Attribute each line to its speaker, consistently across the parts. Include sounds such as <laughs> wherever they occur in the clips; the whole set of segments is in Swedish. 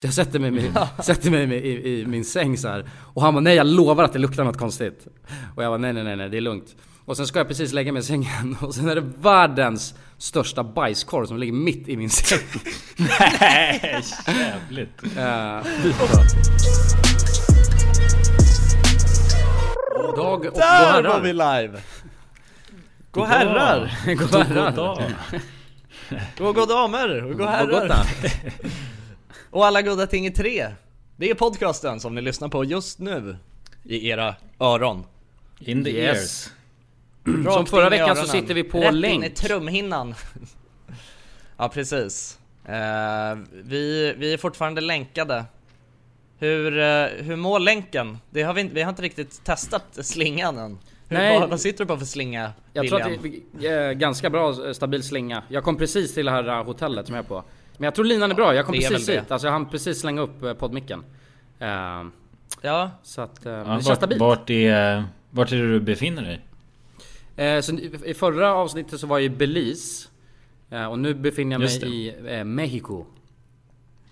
Speaker 1: Jag sätter mig, med, <laughs> sätter mig med, i, i min säng så här. Och han bara nej jag lovar att det luktar något konstigt. Och jag var nej nej nej nej det är lugnt. Och sen ska jag precis lägga mig i sängen <laughs> och sen är det världens största bajskorv som ligger mitt i min
Speaker 2: <laughs>
Speaker 1: säng.
Speaker 3: Nej, <laughs> jävligt.
Speaker 1: Eh, dag och god
Speaker 2: Där var vi
Speaker 1: herrar.
Speaker 2: live! Gå
Speaker 3: God
Speaker 2: herrar!
Speaker 1: <laughs> God
Speaker 3: God
Speaker 1: herrar.
Speaker 3: dag.
Speaker 2: Gå gå damer och gå
Speaker 1: Och
Speaker 2: herrar!
Speaker 1: gotta.
Speaker 2: <laughs> Och alla goda ting i tre! Det är podcasten som ni lyssnar på just nu i era öron.
Speaker 3: In the
Speaker 1: Yes.
Speaker 3: ears.
Speaker 2: Rakt
Speaker 1: Som förra
Speaker 2: in i
Speaker 1: veckan så
Speaker 2: öronen.
Speaker 1: sitter vi på
Speaker 2: Rätt in i
Speaker 1: länk.
Speaker 2: trumhinnan. <laughs> ja, precis. Eh, vi, vi är fortfarande länkade. Hur, eh, hur mår länken? Det har vi, inte- vi har inte riktigt testat slingan än. Hur,
Speaker 1: Nej.
Speaker 2: Vad, vad sitter du på för slinga,
Speaker 1: Jag tror
Speaker 2: William?
Speaker 1: att det är eh, ganska bra eh, stabil slinga. Jag kom precis till det här eh, hotellet som jag är på. Men jag tror linan är bra, jag kom
Speaker 2: Det är
Speaker 1: precis
Speaker 2: väl det.
Speaker 1: hit. Alltså jag hann precis slänga upp eh, poddmicken. Eh,
Speaker 2: Ja,
Speaker 1: Så att eh, men
Speaker 3: Ja,
Speaker 1: det känns
Speaker 3: vart,
Speaker 1: stabilt.
Speaker 3: vart, är, vart är det du befinner dig?
Speaker 1: Eh, så i- I förra avsnittet så var jag i Belize. Eh, Och nu befinner jag
Speaker 3: Just
Speaker 1: mig i eh, Mexico.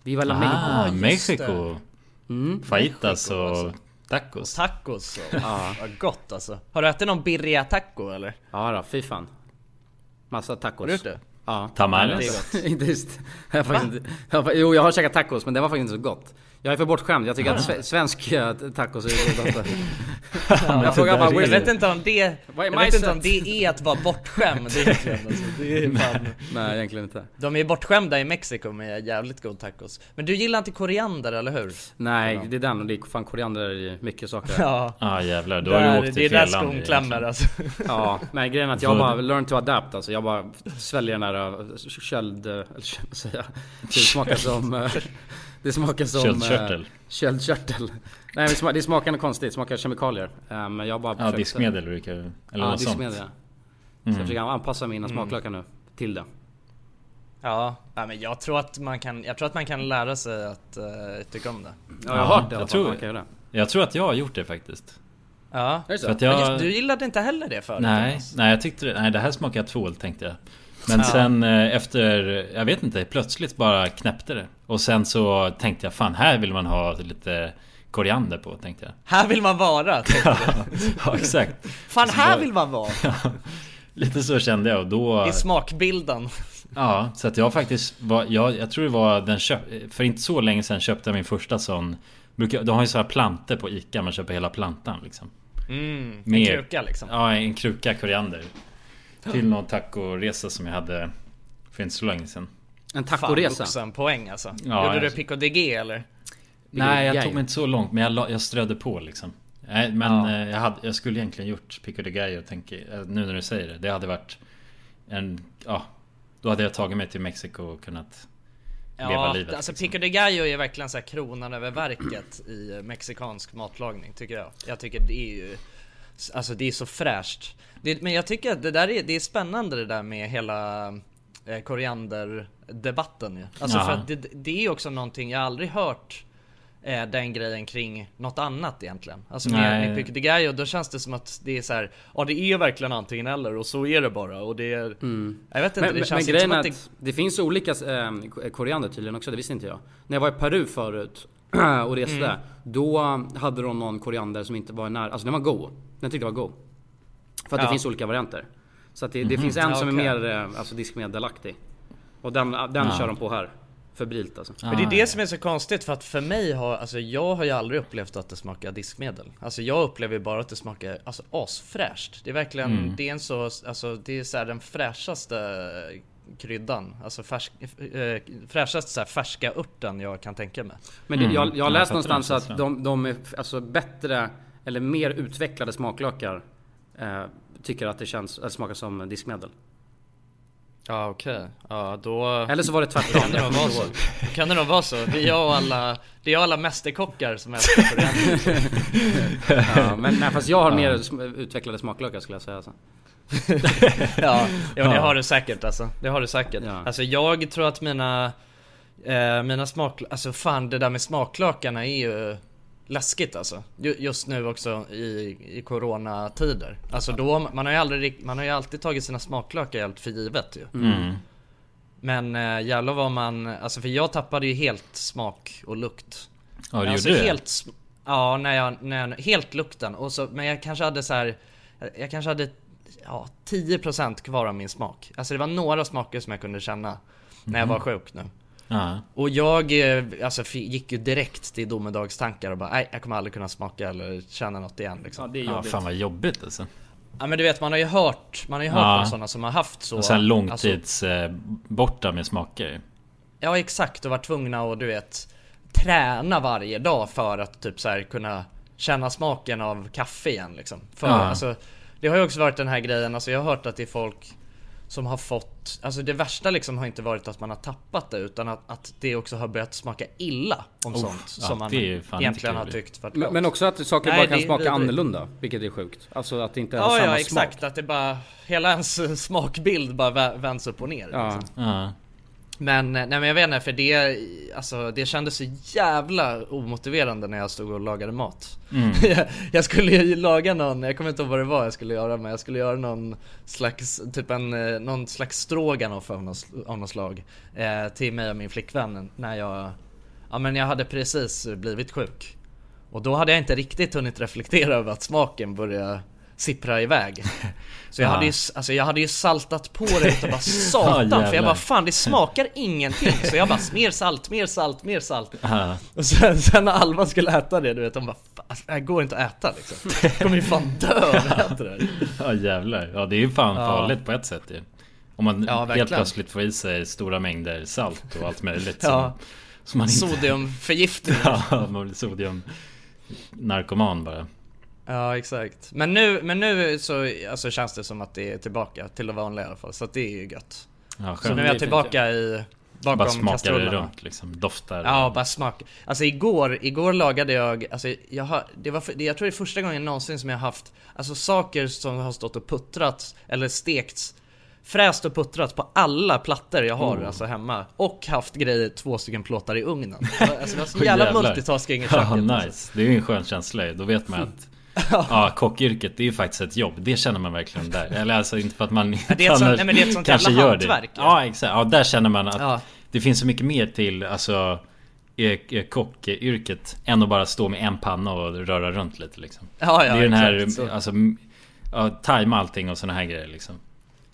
Speaker 1: Viva la Mexico. Mm.
Speaker 3: Ah,
Speaker 2: just
Speaker 3: Mexico. Fajitas och tacos.
Speaker 2: tacos. Och, Vad gott alltså. Har du ätit någon birria taco eller?
Speaker 1: Ja då, fy fan. Massa tacos.
Speaker 2: Har du gjort det?
Speaker 1: Ja.
Speaker 3: Tamales.
Speaker 1: Nej, det är gott. <laughs> Inte just. Jag har faktiskt inte- jag har fa- jo, jag har käkat tacos men det var faktiskt inte så gott. Jag är för bortskämd. Jag tycker att sve- svensk eh, tacos är godast.
Speaker 3: men
Speaker 1: jag
Speaker 3: det
Speaker 1: frågar
Speaker 3: där
Speaker 1: bara
Speaker 3: är-
Speaker 2: Jag
Speaker 1: Willy.
Speaker 2: vet inte om det,
Speaker 1: Vad är
Speaker 2: jag vet inte om
Speaker 1: majset?
Speaker 2: det är att vara bortskämd egentligen. Alltså, det är fan.
Speaker 1: Nej, egentligen inte.
Speaker 2: De är bortskämda i Mexiko med jävligt god tacos. Men du gillar inte koriander, eller hur?
Speaker 1: Nej, det är den och det är fan koriander i mycket saker. Ja.
Speaker 2: Ja.
Speaker 3: Ah jävlar, då har du
Speaker 2: Där,
Speaker 3: åkt
Speaker 2: det är
Speaker 3: till liksom.
Speaker 2: där
Speaker 3: fel land.
Speaker 2: skon
Speaker 3: ju,
Speaker 2: klämmer
Speaker 3: egentligen.
Speaker 2: alltså. <laughs>
Speaker 1: men grejen är att jag bara learn to adapt alltså. Jag bara sväljer den här eh, köld... eh, Eller köld, vad säger jag? Det smakar som... eh, Det smakar som... eh,
Speaker 3: Köldkörtel.
Speaker 1: Köldkörtel. Nej men det sma- det smakar något konstigt. Det smakar kemikalier. Eh, Men jag bara...
Speaker 3: Ja,
Speaker 1: försökte-
Speaker 3: diskmedel brukar Eller
Speaker 1: Ja,
Speaker 3: något sånt. Mm.
Speaker 1: diskmedel. ja. Så jag försöker anpassa mina smaklökar nu till det.
Speaker 2: Ja, ja men jag tror, att man kan, jag tror att man kan lära sig att eh, tycka om det.
Speaker 1: Ja, jag
Speaker 3: Ja,
Speaker 1: har hört det i
Speaker 3: jag
Speaker 1: alla
Speaker 3: tror
Speaker 1: fall. Man
Speaker 3: det.
Speaker 1: kan göra det.
Speaker 3: Jag tror att jag har gjort det faktiskt.
Speaker 2: Ja.
Speaker 1: Är det så?
Speaker 3: För att
Speaker 2: Men
Speaker 3: jag...
Speaker 2: just, du gillade inte heller det förut?
Speaker 3: Nej,
Speaker 2: Jonas.
Speaker 3: nej jag tyckte det, Nej det här smakar tvål tänkte jag Men
Speaker 2: Ja.
Speaker 3: sen eh, efter Jag vet inte plötsligt bara knäppte det Och sen så tänkte jag fan här vill man ha lite Koriander på tänkte jag <laughs>
Speaker 2: Här vill man vara! tänkte jag.
Speaker 3: Ja exakt
Speaker 2: Fan, här
Speaker 3: då-
Speaker 2: vill man vara!
Speaker 3: Lite så kände jag och då
Speaker 2: I smakbilden.
Speaker 3: Ja så att jag faktiskt var, jag, jag tror det var den köp, För inte så länge sedan köpte jag min första sån brukar, De har ju så här planter på Ica Man köper hela plantan liksom
Speaker 2: Mm, en
Speaker 3: Mer.
Speaker 2: kruka liksom.
Speaker 3: Ja en kruka koriander Till någon tacoresa som jag hade För inte så länge sedan
Speaker 1: En
Speaker 2: Fan,
Speaker 1: tacoresa.
Speaker 2: vuxenpoäng alltså.
Speaker 3: Ja,
Speaker 2: Gjorde du
Speaker 3: jag-
Speaker 2: pick och DG eller?
Speaker 3: Nej, jag
Speaker 1: Gallo.
Speaker 3: tog mig inte så långt, men jag, la, jag strödde på liksom. Nej, men eh, jag, hade, jag skulle egentligen gjort Pico de Gallo, tänker, eh, nu när du säger det. Det hade varit en... Ja, då hade jag tagit mig till Mexiko och kunnat leva livet. liksom.
Speaker 2: alltså Pico de Gallo är verkligen så här kronan över verket <clears throat> i eh, mexikansk matlagning tycker jag. Jag tycker det är ju, alltså det är så fräscht. Det, men jag tycker att det där är, det är spännande det där med hela eh, korianderdebatten ju. Alltså för
Speaker 3: Jaha.
Speaker 2: att det, det är ju också någonting jag aldrig hört eh, den grejen kring något annat egentligen. Alltså med,
Speaker 3: Nej.
Speaker 2: med Pico de Gallo då känns det som att det är så här, ja det är verkligen antingen eller och så är det bara och det är, jag vet inte,
Speaker 1: Mm. Men,
Speaker 2: det
Speaker 1: men, men
Speaker 2: känns inte
Speaker 1: grejen
Speaker 2: som
Speaker 1: är
Speaker 2: att det
Speaker 1: att det finns olika eh, koriander tydligen också, det visste inte jag. När jag var i Peru förut <clears throat> och reste,
Speaker 2: Mm.
Speaker 1: då hade de någon koriander som inte var när, alltså den var god. Den tyckte jag var god. För att
Speaker 2: Ja. Mhm.
Speaker 1: det finns olika varianter. Så att det, det finns en
Speaker 2: Ja,
Speaker 1: som är
Speaker 2: okej.
Speaker 1: mer eh, alltså diskmeddelaktig. Och den, eh, den kör de på här. Febrilt alltså.
Speaker 2: Men det är det som är så konstigt för att för mig har, alltså jag har ju aldrig upplevt att det smakar diskmedel. Alltså jag upplever ju bara att det smakar alltså, asfräscht. Det är verkligen, det är en så, alltså det är så här den fräschaste kryddan. Alltså färsk, eh, fräschaste så här färska örten jag kan tänka mig.
Speaker 1: Men det, jag, jag
Speaker 2: Mm.
Speaker 1: har
Speaker 3: jag
Speaker 1: läst
Speaker 3: fattar
Speaker 1: någonstans
Speaker 3: det,
Speaker 1: att
Speaker 3: så.
Speaker 1: de, de är alltså bättre eller mer utvecklade smaklökar eh, tycker att det känns, eller smakar som diskmedel.
Speaker 2: Ja okej, ja då...
Speaker 1: Eller så var det
Speaker 2: <laughs>
Speaker 1: tvärtom.
Speaker 2: Kan det
Speaker 1: jag
Speaker 2: nog
Speaker 1: kommer
Speaker 2: vara
Speaker 1: inte
Speaker 2: så?
Speaker 1: ihåg.
Speaker 2: Kan det nog vara så? Det är jag och alla, det är jag och alla mästerkockar som äter koriander.
Speaker 1: Ja, men nej, fast jag har mer sm- utvecklade smaklökar skulle jag säga. Alltså.
Speaker 2: <laughs> Ja, ja det har du säkert alltså. Det har du säkert.
Speaker 1: Ja.
Speaker 2: Alltså jag tror att mina, eh, mina smak, alltså fan det där med smaklökarna är ju läskigt alltså. Ju- Just nu också i, i coronatider. Mm. Alltså då, man har ju aldrig, rikt- man har ju alltid tagit sina smaklökar helt för givet ju. Men eh, jävlar vad man, alltså för jag tappade ju helt smak och lukt.
Speaker 3: Ja, det
Speaker 2: alltså
Speaker 3: gjorde det?
Speaker 2: helt, sm- Ja, när jag, när jag, helt lukten. Och så, men jag kanske hade så här, jag kanske hade ja, 10% kvar av min smak. Alltså det var några smaker som jag kunde känna när
Speaker 3: Mhm.
Speaker 2: jag var sjuk nu.
Speaker 3: Ja.
Speaker 2: Och jag eh, alltså, fi- gick ju direkt till domedagstankar och bara nej, jag kommer aldrig kunna smaka eller känna något igen
Speaker 1: Ja,
Speaker 2: liksom.
Speaker 1: det är
Speaker 3: ja,
Speaker 1: jobbigt.
Speaker 3: fan vad jobbigt alltså.
Speaker 2: Ja men du vet man har ju hört, man har ju hört
Speaker 3: Ja.
Speaker 2: om sådana som har haft så.
Speaker 3: Och sen
Speaker 2: alltså,
Speaker 3: långtids eh, borta med smaker.
Speaker 2: Ja exakt och var tvungna att du vet träna varje dag för att typ så här kunna känna smaken av kaffe igen liksom. För,
Speaker 3: Ja.
Speaker 2: alltså, det har ju också varit den här grejen, alltså, jag har hört att det är folk som har fått, alltså det värsta liksom har inte varit att man har tappat det utan att, att det också har börjat smaka illa om
Speaker 3: Oh,
Speaker 2: sånt
Speaker 3: ja,
Speaker 2: som man
Speaker 3: det är ju fan inte
Speaker 2: egentligen
Speaker 3: kul.
Speaker 2: har tyckt varit
Speaker 1: Men,
Speaker 2: gott.
Speaker 1: men också att saker
Speaker 2: Nej,
Speaker 1: bara kan
Speaker 2: det-
Speaker 1: smaka
Speaker 2: det- det-
Speaker 1: annorlunda, vilket är sjukt. Alltså att det inte har
Speaker 2: Ja,
Speaker 1: samma
Speaker 2: ja
Speaker 1: smak.
Speaker 2: exakt, att det bara hela ens <laughs> smakbild bara vä- vänds upp och ner.
Speaker 1: Ja.
Speaker 2: Liksom.
Speaker 3: Ja. <laughs>
Speaker 2: Men, eh, nej men jag vet inte för det, alltså det kändes så jävla omotiverande när jag stod och lagade mat. <laughs> Jag, jag skulle ju laga någon, jag kommer inte ihåg vad det var jag skulle göra men jag skulle göra någon slags, typ en, eh, någon slags stroganoff av något, sl- av något slag. Eh, till mig och min flickvän när jag, ja men jag hade precis blivit sjuk. Och då hade jag inte riktigt hunnit reflektera över att smaken började sippra iväg. Så jag,
Speaker 3: Ah.
Speaker 2: hade ju, s- alltså jag hade ju saltat på det utan bara satan
Speaker 3: Ja,
Speaker 2: för jag
Speaker 3: jävlar.
Speaker 2: bara fan det smakar ingenting så jag bara mer salt, mer salt, mer salt
Speaker 3: Ja.
Speaker 2: Och sen, sen när Alva skulle äta det du vet hon bara "Fan, alltså, det här går inte att äta liksom Jag kommer ju fan dö om jag äter det här
Speaker 3: Ja jävlar. Ja det är ju fan
Speaker 2: Ja.
Speaker 3: farligt på ett sätt ju. Om man
Speaker 2: Ja, verkligen.
Speaker 3: helt plötsligt får i sig stora mängder salt och allt möjligt.
Speaker 2: Ja.
Speaker 3: som, som man inte...
Speaker 2: Sodiumförgiftning
Speaker 3: Ja, <laughs> man blir sodium narkoman bara.
Speaker 2: Ja exakt Men nu, men nu så alltså, känns det som att det är tillbaka till det vanliga i alla fall så att det är ju gött
Speaker 3: Ja,
Speaker 2: Så
Speaker 3: skönt.
Speaker 1: det
Speaker 2: nu är
Speaker 1: är
Speaker 2: jag tillbaka i bakom
Speaker 3: Bara smakar det
Speaker 2: kastrullerna.
Speaker 3: runt liksom. Doftar. <laughs>
Speaker 2: Ja, bara smak. Alltså igår, igår lagade jag, alltså jag, har, det var, för- det- jag tror det är första gången någonsin som jag haft, alltså saker som har stått och puttrats, eller stekts, fräst och puttrats på alla plattor jag har
Speaker 3: Mm.
Speaker 2: alltså hemma. Och haft grejer, två stycken plåtar
Speaker 3: <laughs>
Speaker 2: i ugnen. Alltså det var så
Speaker 3: Åh,
Speaker 2: jävla
Speaker 3: jävlar.
Speaker 2: multitasking i köket.
Speaker 3: Ja, nice. Det är ju en skön känsla ju. Då vet man
Speaker 2: <laughs>
Speaker 3: att ja, kockyrket det är ju faktiskt ett jobb. Det känner man verkligen där. Eller alltså inte för att
Speaker 2: <laughs>
Speaker 3: man inte
Speaker 2: det är ett sånt-
Speaker 3: annars
Speaker 2: nej, men det är ett sånt
Speaker 3: kanske
Speaker 2: jävla
Speaker 3: gör
Speaker 2: hantverk,
Speaker 3: Det.
Speaker 2: ja.
Speaker 3: Ja exakt. Ja där känner man att
Speaker 2: Ja.
Speaker 3: det finns så mycket mer till alltså e- e- kockyrket än att bara stå med en panna och röra runt lite liksom.
Speaker 2: Ja,
Speaker 3: det
Speaker 2: ja,
Speaker 3: är ju den här,
Speaker 2: exakt, så.
Speaker 3: alltså, m- ja, tajma allting och såna här grejer liksom.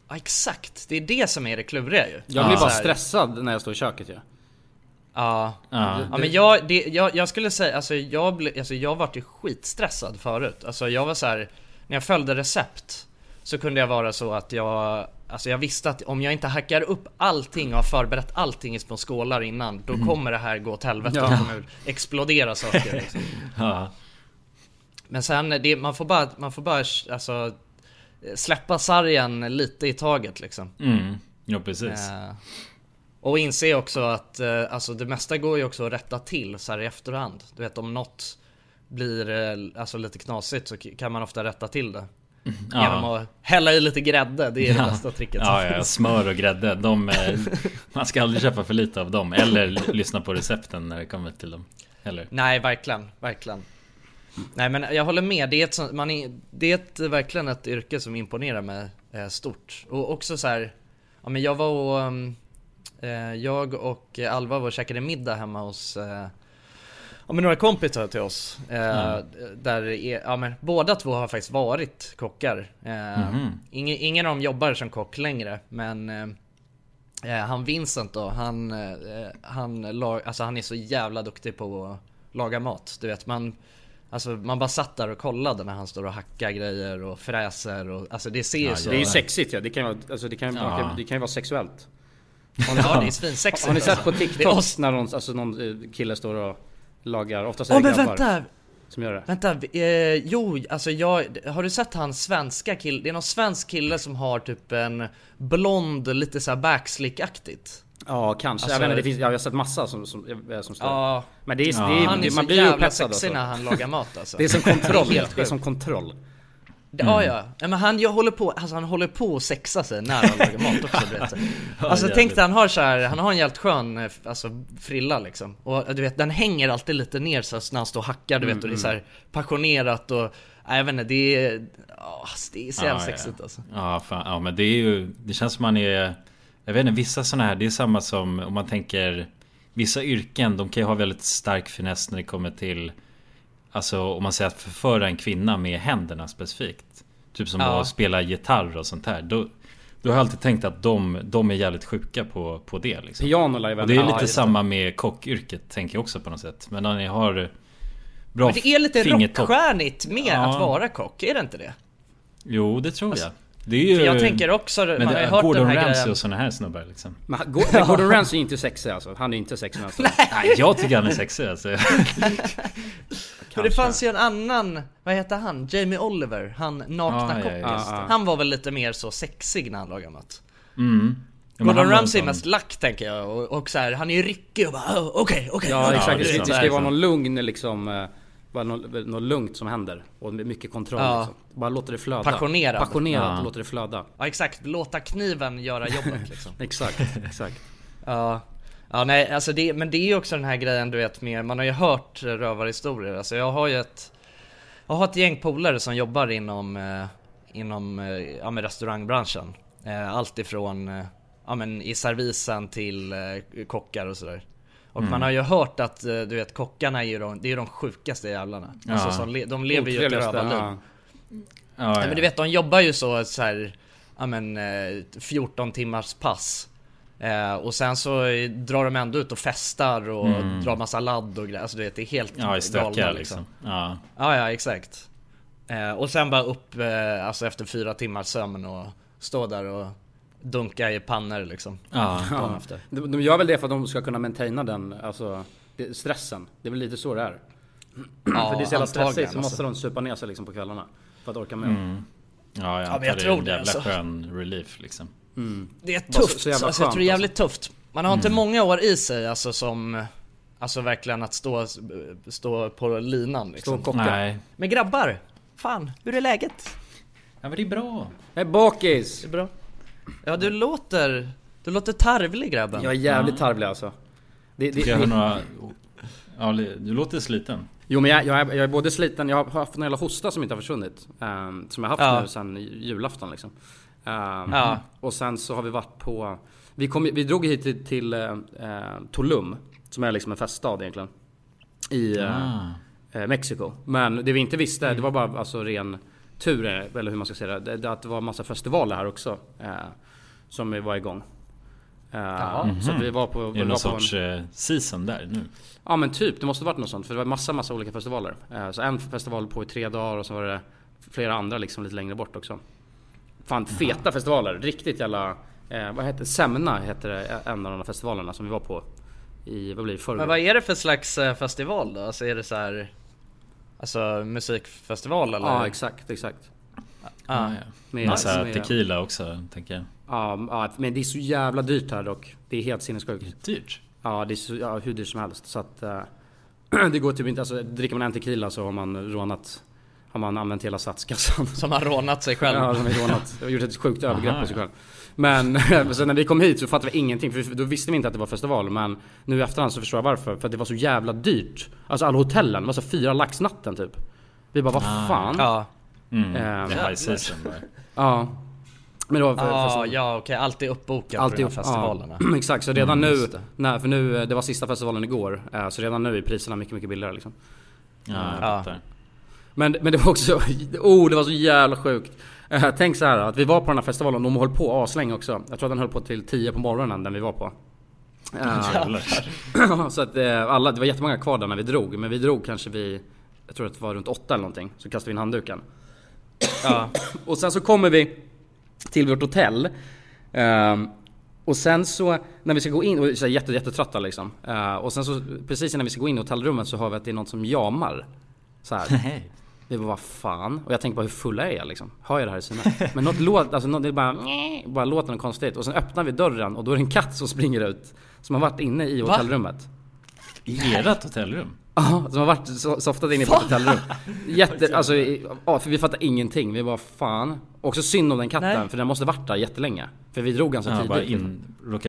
Speaker 2: Ja, exakt. Det är det som är det kluriga ju.
Speaker 1: Jag blir
Speaker 2: Ja.
Speaker 1: bara
Speaker 2: Så här,
Speaker 1: stressad när jag står i köket ju.
Speaker 2: Ja.
Speaker 3: Ja.
Speaker 2: Ja men jag, det, jag, jag skulle säga, alltså jag, ble, alltså jag vart ju skitstressad förut. Alltså jag var så här, när jag följde recept så kunde jag vara så att jag, alltså jag visste att om jag inte hackar upp allting och har förberett allting i små skålar innan, då kommer det här gå åt helvete och
Speaker 1: Ja.
Speaker 2: kommer explodera saker liksom.
Speaker 3: Ja.
Speaker 2: Men sen, det, man får bara, man får bara alltså, släppa sargen lite i taget liksom.
Speaker 3: Mm. Jo precis.
Speaker 2: Eh, och inse också att eh, alltså det mesta går ju också att rätta till så här i efterhand. Du vet om något blir eh, alltså lite knasigt så k- kan man ofta rätta till det.
Speaker 3: Ja.
Speaker 2: Genom att hälla i lite grädde, det är det bästa tricket som
Speaker 3: Ja, ja,
Speaker 2: finns.
Speaker 3: smör och grädde. De,
Speaker 2: <laughs>
Speaker 3: eh, man ska aldrig köpa för lite av dem. Eller l- lyssna på recepten när det kommer till dem. Eller?
Speaker 2: Nej, verkligen, verkligen. Nej men jag håller med, det är, ett, sånt- man är, det är ett, verkligen ett yrke som imponerar mig eh, stort. Och också så här, ja men jag var och, ehm, eh, jag och Alva var och käkade middag hemma hos eh, Ja men några kompisar till oss. Eh, Där är, ja, men, båda två har faktiskt varit kockar. Eh, ingen, ingen av dem jobbar som kock längre men eh, eh, han Vincent då, han, eh, han, la, alltså, han är så jävla duktig på att laga mat. Du vet man, alltså, man bara satt där och kollade när han står och hackar grejer och fräser och alltså det ser ju
Speaker 3: Ja,
Speaker 2: så...
Speaker 1: Det är ju sexigt ju. Det kan ju vara- alltså, det kan,
Speaker 3: Ja.
Speaker 1: det kan- det kan ju vara sexuellt.
Speaker 2: Ja det är svinsexigt.
Speaker 1: Har ni sett
Speaker 2: alltså.
Speaker 1: på
Speaker 2: Det är
Speaker 1: TikTok
Speaker 2: oss-
Speaker 1: när någon, alltså, någon eh, kille står och lagar, oftast är
Speaker 2: Åh
Speaker 1: det
Speaker 2: men
Speaker 1: grabbar
Speaker 2: vänta!
Speaker 1: som gör det.
Speaker 2: Vänta, eh, jo, alltså jag, har du sett han svenska killen? Det är någon svensk kille som har typ en blond, lite såhär backslick-aktigt.
Speaker 1: Ja kanske, jag
Speaker 2: Alltså-
Speaker 1: vet inte, det finns, ja, jag har sett massa som, som, eh, som står
Speaker 2: Ja,
Speaker 1: Men det är,
Speaker 3: Ja.
Speaker 1: det är,
Speaker 2: han är
Speaker 1: det, man
Speaker 2: så
Speaker 1: blir ju
Speaker 2: jävla
Speaker 1: upphetsad
Speaker 2: sexig
Speaker 1: alltså.
Speaker 2: när han lagar mat alltså.
Speaker 1: Det är som kontroll,
Speaker 2: <laughs> Det är helt
Speaker 1: det är
Speaker 2: sjukt.
Speaker 1: som kontroll.
Speaker 2: Ja,
Speaker 3: Mm.
Speaker 2: ja. Nej, men han, jag håller på, alltså han håller på att sexa sig när han lagar mat också
Speaker 3: <laughs>
Speaker 2: du vet. <laughs> Alltså
Speaker 3: jävligt.
Speaker 2: tänk dig, han har så här, han har en jävligt skön eh, alltså, frilla liksom. Och du vet, den hänger alltid lite ner så här, när han står och hackar du
Speaker 3: Mm,
Speaker 2: vet och det är så här passionerat och, nej, jag vet inte, det är, ja, alltså, det är så jävla
Speaker 3: Ja, ja,
Speaker 2: sexigt alltså.
Speaker 3: Ja, fan, ja men det är ju... Det känns som man är Jag vet inte, vissa sådana här, det är samma som om man tänker Vissa yrken, de kan ju ha väldigt stark finess när det kommer till Alltså om man säger att förföra en kvinna med händerna specifikt Typ som
Speaker 2: Ja.
Speaker 3: att spela gitarr och sånt här Då, då har jag alltid tänkt att de, de är jävligt sjuka på, på det liksom.
Speaker 1: Piano lär ju
Speaker 3: Och
Speaker 1: väl-
Speaker 3: det
Speaker 1: ja,
Speaker 3: är lite
Speaker 1: just
Speaker 3: samma med kockyrket tänker jag också på något sätt Men när ni har Bra
Speaker 2: Men det är lite
Speaker 3: fingertopp-
Speaker 2: rockstjärnigt med
Speaker 3: Ja.
Speaker 2: att vara kock, är det inte det?
Speaker 3: Jo det tror jag Det är ju
Speaker 2: Alltså, För jag tänker också,
Speaker 3: Men
Speaker 2: man har
Speaker 3: det,
Speaker 2: ju hört
Speaker 3: Gordon
Speaker 2: den här
Speaker 3: Ramsay
Speaker 2: grejen
Speaker 3: och såna här snubbar liksom
Speaker 1: Men han- Go- men Gordon Ramsay är ju inte sexig alltså. Han är ju inte sexig alltså.
Speaker 3: Nej, jag tycker han är sexig alltså.
Speaker 2: Men det fanns ju en annan, vad heter han? Jamie Oliver, han nakna
Speaker 3: Ah, ja,
Speaker 2: kocken.
Speaker 3: ja,
Speaker 1: just det.
Speaker 2: Han var väl lite mer så sexig när han lagade mat.
Speaker 3: Mm. Ja, men han
Speaker 2: Gordon
Speaker 3: var en
Speaker 2: Ramsay är
Speaker 3: sån-
Speaker 2: mest lack tänker jag och, och så här, han är ju ryckig och bara "Åh, okej, okej.
Speaker 1: Ja
Speaker 3: Ja,
Speaker 1: exakt,
Speaker 3: det
Speaker 1: det, ska-
Speaker 3: är
Speaker 2: typ
Speaker 1: det
Speaker 3: sant.
Speaker 1: ska ju vara någon lugn liksom eh, bara något, något lugnt som händer och med mycket kontroll
Speaker 2: Ja.
Speaker 1: liksom. Bara låter det flöda
Speaker 2: Passionerad.
Speaker 1: Passionerat,
Speaker 3: Ja.
Speaker 1: låter det flöda
Speaker 2: Ja exakt, låta kniven göra
Speaker 1: <laughs>
Speaker 2: jobbet liksom.
Speaker 1: Exakt, exakt
Speaker 2: Ja. Ja nej, alltså det, men det är ju också den här grejen du vet med, man har ju hört eh, rövarhistorier. Alltså jag har ju ett, jag har ett gäng polare som jobbar inom, eh, inom eh, ja, men restaurangbranschen. Eh, allt ifrån eh, ja, men i servisen till eh, kockar och sådär. Och man har ju hört att eh, du vet kockarna är ju de, det är ju de sjukaste jävlarna. Alltså,
Speaker 3: Ja.
Speaker 2: som le, de lever ju ett
Speaker 1: Otrevligaste,
Speaker 2: rövarliv.
Speaker 1: ja.
Speaker 3: Ja, ja.
Speaker 2: Nej, men du vet, de jobbar ju så, så här, ja men eh, 14 timmars pass. Eh, och sen så eh, drar de ändå ut och festar och drar massa ladd och grejer. Alltså du vet, det är helt
Speaker 3: Mm. Ja, i
Speaker 2: galna,
Speaker 3: stökiga liksom. Ja.
Speaker 2: Ja, ja, exakt. Eh, och sen bara upp eh, alltså efter fyra timmars sömn och stå där och dunka i pannor liksom.
Speaker 3: Ja.
Speaker 2: Dagen efter.
Speaker 1: de, de gör väl det för att de ska kunna maintaina den, alltså det, stressen Det är väl lite så det är <clears throat>
Speaker 2: Ja,
Speaker 1: För det är så jävla
Speaker 2: antagligen,
Speaker 1: stressigt så
Speaker 2: alltså.
Speaker 1: måste de supa ner sig liksom på kvällarna För att orka med
Speaker 3: Ja, jag,
Speaker 2: Ja,
Speaker 3: antar
Speaker 2: men jag
Speaker 3: det är
Speaker 2: tror
Speaker 3: en
Speaker 2: det,
Speaker 3: jävla
Speaker 2: alltså.
Speaker 3: skön relief liksom.
Speaker 2: Det är tufft,
Speaker 1: så- så jävla
Speaker 2: alltså, jag
Speaker 1: skönt,
Speaker 2: tror det är jävligt tufft. Man har inte
Speaker 3: Mm.
Speaker 2: många år i sig alltså som, alltså verkligen att stå, stå på linan
Speaker 1: Stå
Speaker 2: liksom.
Speaker 1: och kocka
Speaker 3: Nej.
Speaker 2: Men grabbar, fan, hur är läget?
Speaker 3: Ja men det är bra.
Speaker 1: Jag är bakis!
Speaker 2: Det är bra. Ja du låter, du låter tarvlig grabben.
Speaker 1: Jag är jävligt tarvlig alltså det, det,
Speaker 3: Tycker jag hör
Speaker 1: det-
Speaker 3: några... Ja, li- du låter sliten.
Speaker 1: Jo men jag, jag, är, jag är både sliten, jag har haft en jävla hosta som inte har försvunnit. ehm, som jag haft
Speaker 2: Ja.
Speaker 1: nu sen julafton liksom. Ehm,
Speaker 2: Ja.
Speaker 1: Och sen så har vi varit på, vi, kom, vi drog hit till, till eh, eh, Tulum, som är liksom en feststad egentligen. I eh,
Speaker 3: Ah.
Speaker 1: eh, Mexiko. Men det vi inte visste, det var
Speaker 2: Mm.
Speaker 1: bara alltså ren tur, eh, eller hur man ska säga det. det, det att det var massa festivaler här också. Eh, som var igång. Eh, Så att vi
Speaker 2: Mhm.
Speaker 1: var på...
Speaker 3: Är
Speaker 1: vi
Speaker 3: det
Speaker 1: var
Speaker 3: någon
Speaker 1: på en-
Speaker 3: sorts eh, season där nu?
Speaker 1: Ja men typ, det måste varit något sånt. För det var massa, massa olika festivaler. Eh, Så en festival på i tre dagar och så var det flera andra liksom lite längre bort också. Fan feta festivaler, riktigt jävla... Eh, vad heter det? Semna heter det, eh, en av de här festivalerna som vi var på. I, vad blir det,
Speaker 2: Men
Speaker 1: förrgår?
Speaker 2: vad är det för slags eh, festival då? Alltså är det så här, alltså musikfestival eller?
Speaker 1: Ja exakt, exakt.
Speaker 2: Ja.
Speaker 1: Med-
Speaker 3: Ah, Massa
Speaker 1: med-
Speaker 3: tequila också, tänker jag.
Speaker 1: Ja, ja, men det är så jävla dyrt här dock. Det är helt sinnessjukt.
Speaker 3: Dyrt.
Speaker 1: Ja, det är så, ja, hur dyrt som helst. Så att, eh, <clears throat> det går typ inte, alltså dricker man en tequila så har man rånat, har man använt hela statskassan.
Speaker 2: Som har rånat sig själv.
Speaker 1: Ja, som är rånat. Jag har gjort ett sjukt övergrepp
Speaker 3: Aha,
Speaker 1: på sig själv. Men <laughs> så när vi kom hit så fattade vi ingenting. För vi- då visste vi inte att det var festival. Men nu i efterhand så förstår jag varför. För att det var så jävla dyrt. Alltså alla hotellen. Det var så fyra lax natten typ. Vi bara, vad fan? Ja.
Speaker 2: Ja,
Speaker 3: Mm.
Speaker 1: Ehm.
Speaker 3: Det är high season där.
Speaker 1: Men det var för,
Speaker 2: ja,
Speaker 1: festival.
Speaker 2: ja okej, allt är uppbokat på de
Speaker 1: Alltid,
Speaker 2: här Ah, festivalerna. Mm,
Speaker 1: Ja, <clears throat> exakt, så redan nu,
Speaker 2: det.
Speaker 1: nej, för nu, eh, det var sista festivalen igår. eh, Så redan nu är priserna mycket, mycket billigare liksom.
Speaker 3: Ja, jag
Speaker 2: Ja.
Speaker 3: fattar.
Speaker 1: Men, men det var också, oh det var så jävla sjukt. Eh, tänk så här att vi var på den här festivalen, de höll på aslänge också. Jag tror att den höll på till 10 på morgonen den vi var på. Eh,
Speaker 3: Jävlar.
Speaker 1: så att eh, <clears throat> alla, det var jättemånga kvar där när vi drog. Men vi drog kanske vid, jag tror att det var runt 8 eller någonting. Så kastade vi in handduken. Eh,
Speaker 2: Ja.
Speaker 1: Och sen så kommer vi till vårt hotell. Ehm, och sen så när vi ska gå in, och vi är så här jätte, jättetrötta liksom. Eh, och sen så precis innan vi ska gå in i hotellrummet så hör vi att det är någon som jamar. Så här.
Speaker 3: Hej.
Speaker 1: Vi bara vad fan? Och jag tänker bara hur fulla är jag liksom? Hör jag det här i sina? Men något låt, alltså något, det är bara, bara låter något konstigt. Och sen öppnar vi dörren och då är det en katt som springer ut. Som har varit inne i hotellrummet.
Speaker 3: I ert hotellrum?
Speaker 1: Ja, som har varit so- softat inne i vårt hotellrum. Jätte, alltså, i- ja, för vi fattar ingenting. Vi bara fan. Också synd om den katten,
Speaker 2: Nej.
Speaker 1: för den måste varit där jättelänge. För vi drog ganska
Speaker 3: Ja, Typ bara
Speaker 1: tidigt.
Speaker 3: in... Råkade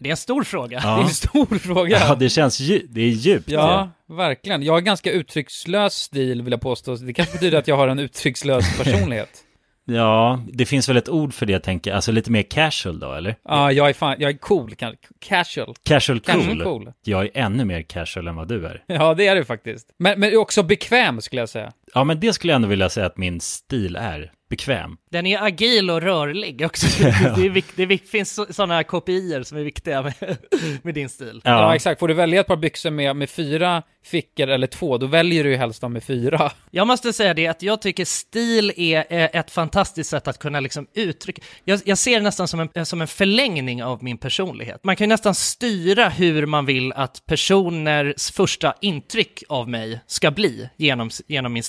Speaker 4: Det är en stor fråga.
Speaker 5: Det är en stor <laughs> fråga.
Speaker 3: Ja, det känns dju- det är djupt.
Speaker 5: Ja, verkligen. Jag har ganska uttryckslös stil vill jag påstå. Det kanske betyder att jag har
Speaker 3: <laughs>
Speaker 5: en uttryckslös personlighet.
Speaker 3: ja, det finns väl ett ord för det tänker jag. Alltså lite mer casual då, eller?
Speaker 5: Ja, jag är fan, jag är cool, kan- casual.
Speaker 3: Casual cool.
Speaker 5: Casual cool.
Speaker 3: Jag är ännu mer casual än vad du är.
Speaker 5: Ja, det är du faktiskt. Men, men också bekväm skulle jag säga.
Speaker 3: Ja, men det skulle jag ändå vilja säga att min stil är. Bekväm.
Speaker 4: Den är agil och rörlig också. Det, är, vik- det vik- finns sådana kopior som är viktiga med, <laughs> med din stil.
Speaker 5: Ja.
Speaker 3: Ja,
Speaker 5: exakt. Får du välja ett par byxor med, med fyra fickor eller två, då väljer du ju helst de med fyra. <laughs>
Speaker 4: Jag måste säga det att jag tycker stil är eh, ett fantastiskt sätt att kunna liksom uttrycka. Jag, jag ser det nästan som en, eh, som en förlängning av min personlighet. Man kan ju nästan styra hur man vill att personers första intryck av mig ska bli genom, s- genom min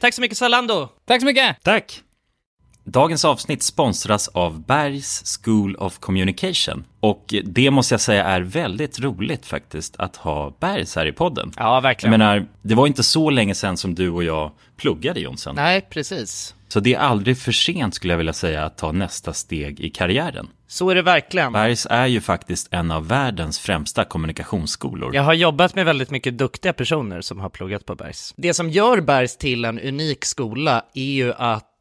Speaker 4: Tack så mycket Zalando!
Speaker 5: Tack så mycket!
Speaker 3: tack. Dagens avsnitt sponsras av Bergs School of Communication. Och det måste jag säga är väldigt roligt faktiskt att ha Bergs här i podden.
Speaker 4: Ja,
Speaker 3: Jag
Speaker 4: verkligen.
Speaker 3: menar, det var inte så länge sedan som du och jag pluggade Jonsson.
Speaker 4: Nej, precis.
Speaker 3: Så det är aldrig för sent skulle jag vilja säga att ta nästa steg i karriären.
Speaker 4: Så är det verkligen.
Speaker 3: Bergs är ju faktiskt en av världens främsta kommunikationsskolor.
Speaker 4: Jag har jobbat med väldigt mycket duktiga personer som har pluggat på Bergs. Det som gör Bergs till en unik skola är ju att eh,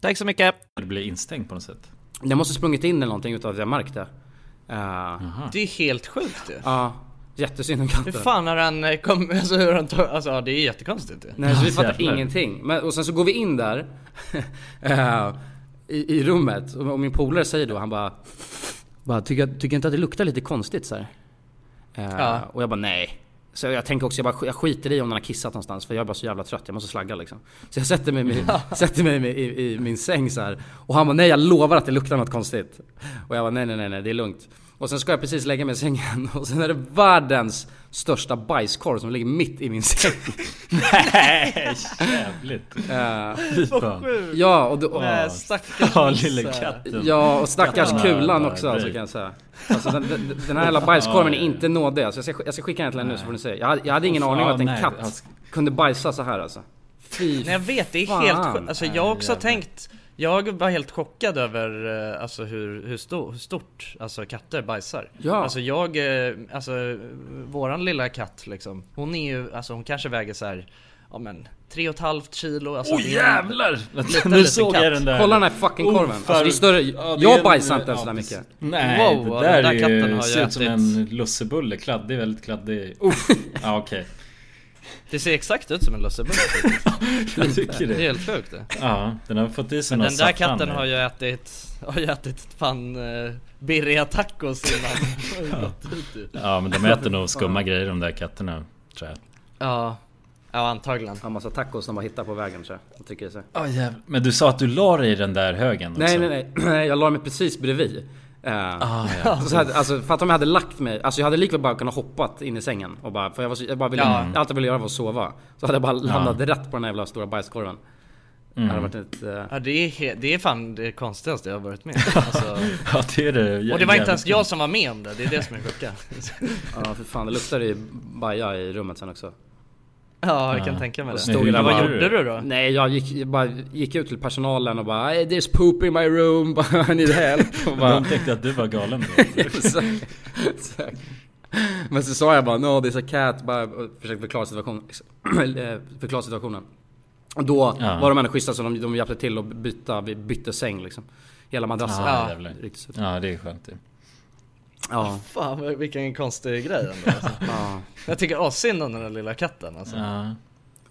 Speaker 4: Tack så mycket!
Speaker 3: Det blir instängd på något sätt.
Speaker 1: Jag måste sprungit in eller någonting utan att jag märkt det. Eh,
Speaker 3: Mm.
Speaker 2: Det är helt sjukt ju.
Speaker 1: Ja, jättesynd om katten.
Speaker 2: Hur fan har han eh, kom, alltså, hur har han tagit, alltså ja, det är jättekonstigt ju.
Speaker 1: Nej, så vi fattar
Speaker 3: jävlar.
Speaker 1: ingenting. Men, och sen så går vi in där <laughs> eh, i, i rummet och, och min polare säger då, han bara, bara tycker, tycker inte att det luktar lite konstigt så här? Eh, Och jag bara nej. Så jag tänker också, jag, bara, jag skiter i om den har kissat någonstans för jag är bara så jävla trött, jag måste slagga liksom. Så jag sätter mig, i min- <laughs> sätter mig i min- i, i min säng så här. Och han bara nej jag lovar att det luktar något konstigt. Och jag bara nej nej nej, nej det är lugnt. Och sen ska jag precis lägga mig i sängen <laughs> och sen är det världens största bajskorv som ligger mitt i min säng.
Speaker 3: <laughs> Nej, jävligt.
Speaker 1: Eh,
Speaker 3: Fy fan.
Speaker 1: ja, och då,
Speaker 2: Nej, stackars
Speaker 3: Ja,
Speaker 2: Nisse.
Speaker 3: lille katten.
Speaker 1: ja, och stackars
Speaker 3: Jävlar,
Speaker 1: kulan
Speaker 3: bara
Speaker 1: också alltså,
Speaker 3: dig.
Speaker 1: kan jag säga. Alltså, den, den, den här
Speaker 3: <laughs>
Speaker 1: jävla bajskorven är inte nådig. Alltså, jag, ska, jag ska skicka den till henne nu så får ni se. Jag, hade- jag hade ingen
Speaker 3: Uff,
Speaker 1: aning om
Speaker 3: ja,
Speaker 1: att en
Speaker 3: nej, jag
Speaker 1: katt
Speaker 3: ska-
Speaker 1: kunde bajsa så här alltså. Fy
Speaker 2: Nej jag vet, det är
Speaker 1: Fan.
Speaker 2: helt sjukt. Alltså jag har också
Speaker 3: jävlar.
Speaker 2: tänkt Jag var helt chockad över eh, alltså, hur, hur, sto- hur stort alltså, katter bajsar
Speaker 1: Ja.
Speaker 2: Alltså jag, eh, alltså eh, våran lilla katt liksom Hon är ju, alltså hon kanske väger så här, ja men tre och ett halvt kilo alltså,
Speaker 3: Åh
Speaker 2: det är-
Speaker 3: jävlar!
Speaker 2: liten
Speaker 3: Nu såg
Speaker 2: katt.
Speaker 3: jag den där.
Speaker 1: Kolla den här fucking korven.
Speaker 3: Oh,
Speaker 1: Alltså, det är större-
Speaker 3: det
Speaker 1: jag
Speaker 3: är en-
Speaker 1: bajsar inte ens
Speaker 3: ja,
Speaker 1: så där
Speaker 3: precis.
Speaker 1: mycket.
Speaker 3: Nej,
Speaker 2: Wow,
Speaker 3: det
Speaker 2: den
Speaker 3: där,
Speaker 2: där
Speaker 3: är
Speaker 2: katten
Speaker 3: ju,
Speaker 2: har
Speaker 3: ser
Speaker 2: jag
Speaker 3: ut som
Speaker 2: ätit.
Speaker 3: en lussebulle. Kladdig, väldigt kladdig. Uff. ja okej.
Speaker 2: Det ser exakt ut som en lussebulle
Speaker 3: Jag tycker
Speaker 2: Det är
Speaker 3: det.
Speaker 2: helt sjukt det
Speaker 3: Ja, den har fått i sig någon
Speaker 2: Den där
Speaker 3: saffran
Speaker 2: katten
Speaker 3: i.
Speaker 2: har ju ätit, har ju ätit fan eh, birria tacos innan
Speaker 3: Ja men de äter nog skumma grejer de där katterna. Tror jag.
Speaker 2: Ja, ja antagligen
Speaker 1: Ja, massa tacos de har hittat på vägen så. här. Jag tycker det är så. här.
Speaker 3: Men du sa att du la dig i den där högen också.
Speaker 1: Nej, nej, <clears throat> nej. Jag la mig precis bredvid. Eh,
Speaker 3: Ah,
Speaker 1: <laughs>
Speaker 3: ja.
Speaker 1: Så hade, alltså, fatta om jag hade lagt mig, alltså jag hade likväl bara kunnat hoppat in i sängen och bara, för jag, var så, jag bara ville, allt jag ville göra var att sova. Så hade jag bara landat rätt på den här jävla stora bajskorven. Det
Speaker 3: Mm.
Speaker 1: hade varit ett... eh,
Speaker 2: Ja det är, he- det är fan det konstigaste jag har varit med om. <laughs> alltså,
Speaker 3: ja det är det.
Speaker 2: Och det var inte ens jag som var med om det, det är det som är sjuka
Speaker 1: Ja för fan, det luktade ju baja i rummet sen också.
Speaker 2: <laughs> Ja jag kan tänka mig det
Speaker 3: Men hur
Speaker 2: Men Vad
Speaker 3: gjorde
Speaker 2: gjorde
Speaker 3: du?
Speaker 2: du då?
Speaker 1: Nej, jag gick, jag bara, gick ut till personalen och bara "Hey, There's poop in my room, <laughs> I need help. Och bara,
Speaker 3: De tänkte att du var galen då.
Speaker 1: Exakt. Exakt. Men så sa jag bara no this a cat, bara och försökte förklara situationen. <clears throat> eh, förklara situationen. Och då
Speaker 3: Ja.
Speaker 1: var de ändå schyssta så de, de hjälpte till att byta, vi bytte säng liksom. Hela madrassen.
Speaker 3: Ja, jävlar.
Speaker 1: Riktigt sött.
Speaker 3: Ja det är skönt det.
Speaker 1: Ja.
Speaker 2: Fan vad- vilken konstig grej ändå alltså. <laughs>
Speaker 1: Ja.
Speaker 2: Jag tycker assynd om den där lilla katten alltså.
Speaker 3: Ja.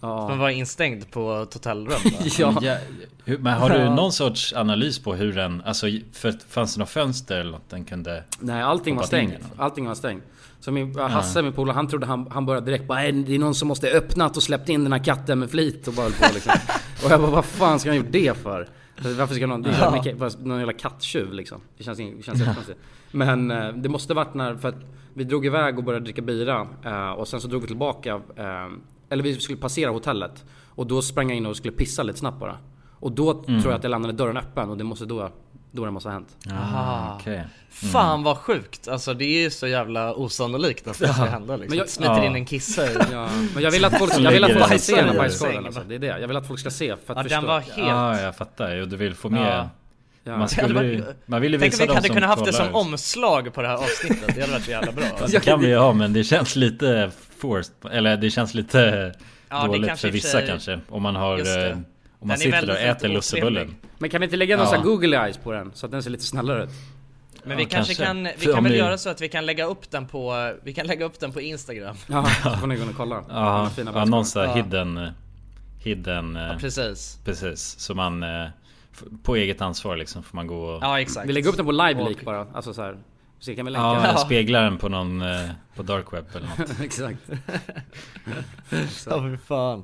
Speaker 1: Ja.
Speaker 2: Den var instängd på ett hotellrum <laughs> va?
Speaker 1: <laughs> Ja.
Speaker 3: Ja, hur- men har du någon sorts analys på hur den, alltså för att fanns det något fönster eller något den kunde?
Speaker 1: Nej allting var
Speaker 3: Hoppat in
Speaker 1: stängt.
Speaker 3: i den.
Speaker 1: Allting var stängt. Så min, Hasse, min polare, han trodde han, han började direkt bara "Nej, det är någon som måste ha öppnat och släppt in den här katten med flit och bara höll på liksom. Och jag bara vad fan ska han gjort det för? Varför ska någon, det är så här mycket- fast någon jävla katttjuv liksom. Det känns, ing- det känns jättekonstigt. Men eh, det måste varit när, för att vi drog iväg och började dricka bira eh, och sen så drog vi tillbaka, eh, eller vi skulle passera hotellet. Och då sprang jag in och skulle pissa lite snabbt bara. Och då tror jag att jag landade dörren öppen och det måste då, då det måste ha hänt.
Speaker 3: Ah, okej.
Speaker 2: Fan vad sjukt, alltså det är ju så jävla osannolikt att det ska hända liksom.
Speaker 1: Men jag-
Speaker 2: Smiter
Speaker 3: Ja.
Speaker 2: in en kissa i...
Speaker 1: Ja, men jag vill att folk, jag vill att folk
Speaker 3: lägger
Speaker 1: ska
Speaker 3: den
Speaker 1: se den här
Speaker 3: i
Speaker 1: bajskorven
Speaker 2: sängen.
Speaker 1: alltså. Det är det. Jag vill att folk ska se för att
Speaker 2: Ja
Speaker 1: förstå.
Speaker 2: den var
Speaker 3: Ja,
Speaker 2: helt...
Speaker 3: ah, jag fattar. Jo, du vill få med.
Speaker 1: Ja.
Speaker 3: Man,
Speaker 2: Det
Speaker 3: skulle,
Speaker 2: hade
Speaker 3: ju-
Speaker 2: varit-
Speaker 3: man vill ju
Speaker 2: Tänk
Speaker 3: visa
Speaker 2: om vi
Speaker 3: dem
Speaker 2: hade
Speaker 3: som
Speaker 2: kunnat haft det
Speaker 3: kollar.
Speaker 2: som omslag på det här avsnittet, det hade varit så
Speaker 3: <laughs>
Speaker 2: jävla bra alltså.
Speaker 3: Fast Det kan vi ju ha men det känns lite forced. Eller det känns lite
Speaker 2: Ja, det
Speaker 3: dåligt för
Speaker 2: kanske i och för
Speaker 3: vissa
Speaker 2: sig-
Speaker 3: kanske. Om man har...
Speaker 2: Just det.
Speaker 3: eh, Om
Speaker 2: Den är
Speaker 3: man sitter där och
Speaker 2: väldigt
Speaker 3: äter
Speaker 2: otrevlig.
Speaker 3: lussebullen.
Speaker 1: Men kan vi inte lägga någon sån här
Speaker 3: Ja.
Speaker 1: googly eyes på den? Så att den ser lite snällare ut.
Speaker 2: Men vi
Speaker 3: Ja,
Speaker 2: kanske,
Speaker 3: kanske.
Speaker 2: kan, vi
Speaker 3: För
Speaker 2: kan
Speaker 3: om
Speaker 2: väl
Speaker 3: ni-
Speaker 2: göra så att vi kan lägga upp den på, vi kan lägga upp den
Speaker 1: <laughs>
Speaker 2: på Instagram
Speaker 1: Ja, så får ni gå in och kolla.
Speaker 3: Ja,
Speaker 1: Den fina
Speaker 3: ja,
Speaker 1: bajskorven.
Speaker 3: någon sån här hidden... eh, Hidden... eh,
Speaker 2: Precis
Speaker 3: precis. Så man... eh, f- På eget ansvar liksom får man gå och...
Speaker 2: Ja exakt
Speaker 1: Vi lägger upp den på live leak bara. Alltså så här. Så kan vi länka
Speaker 3: Ja,
Speaker 1: den.
Speaker 3: spegla den på någon... eh, På dark web eller
Speaker 1: <laughs>
Speaker 3: något.
Speaker 2: <laughs>
Speaker 1: Exakt.
Speaker 2: Ja för fan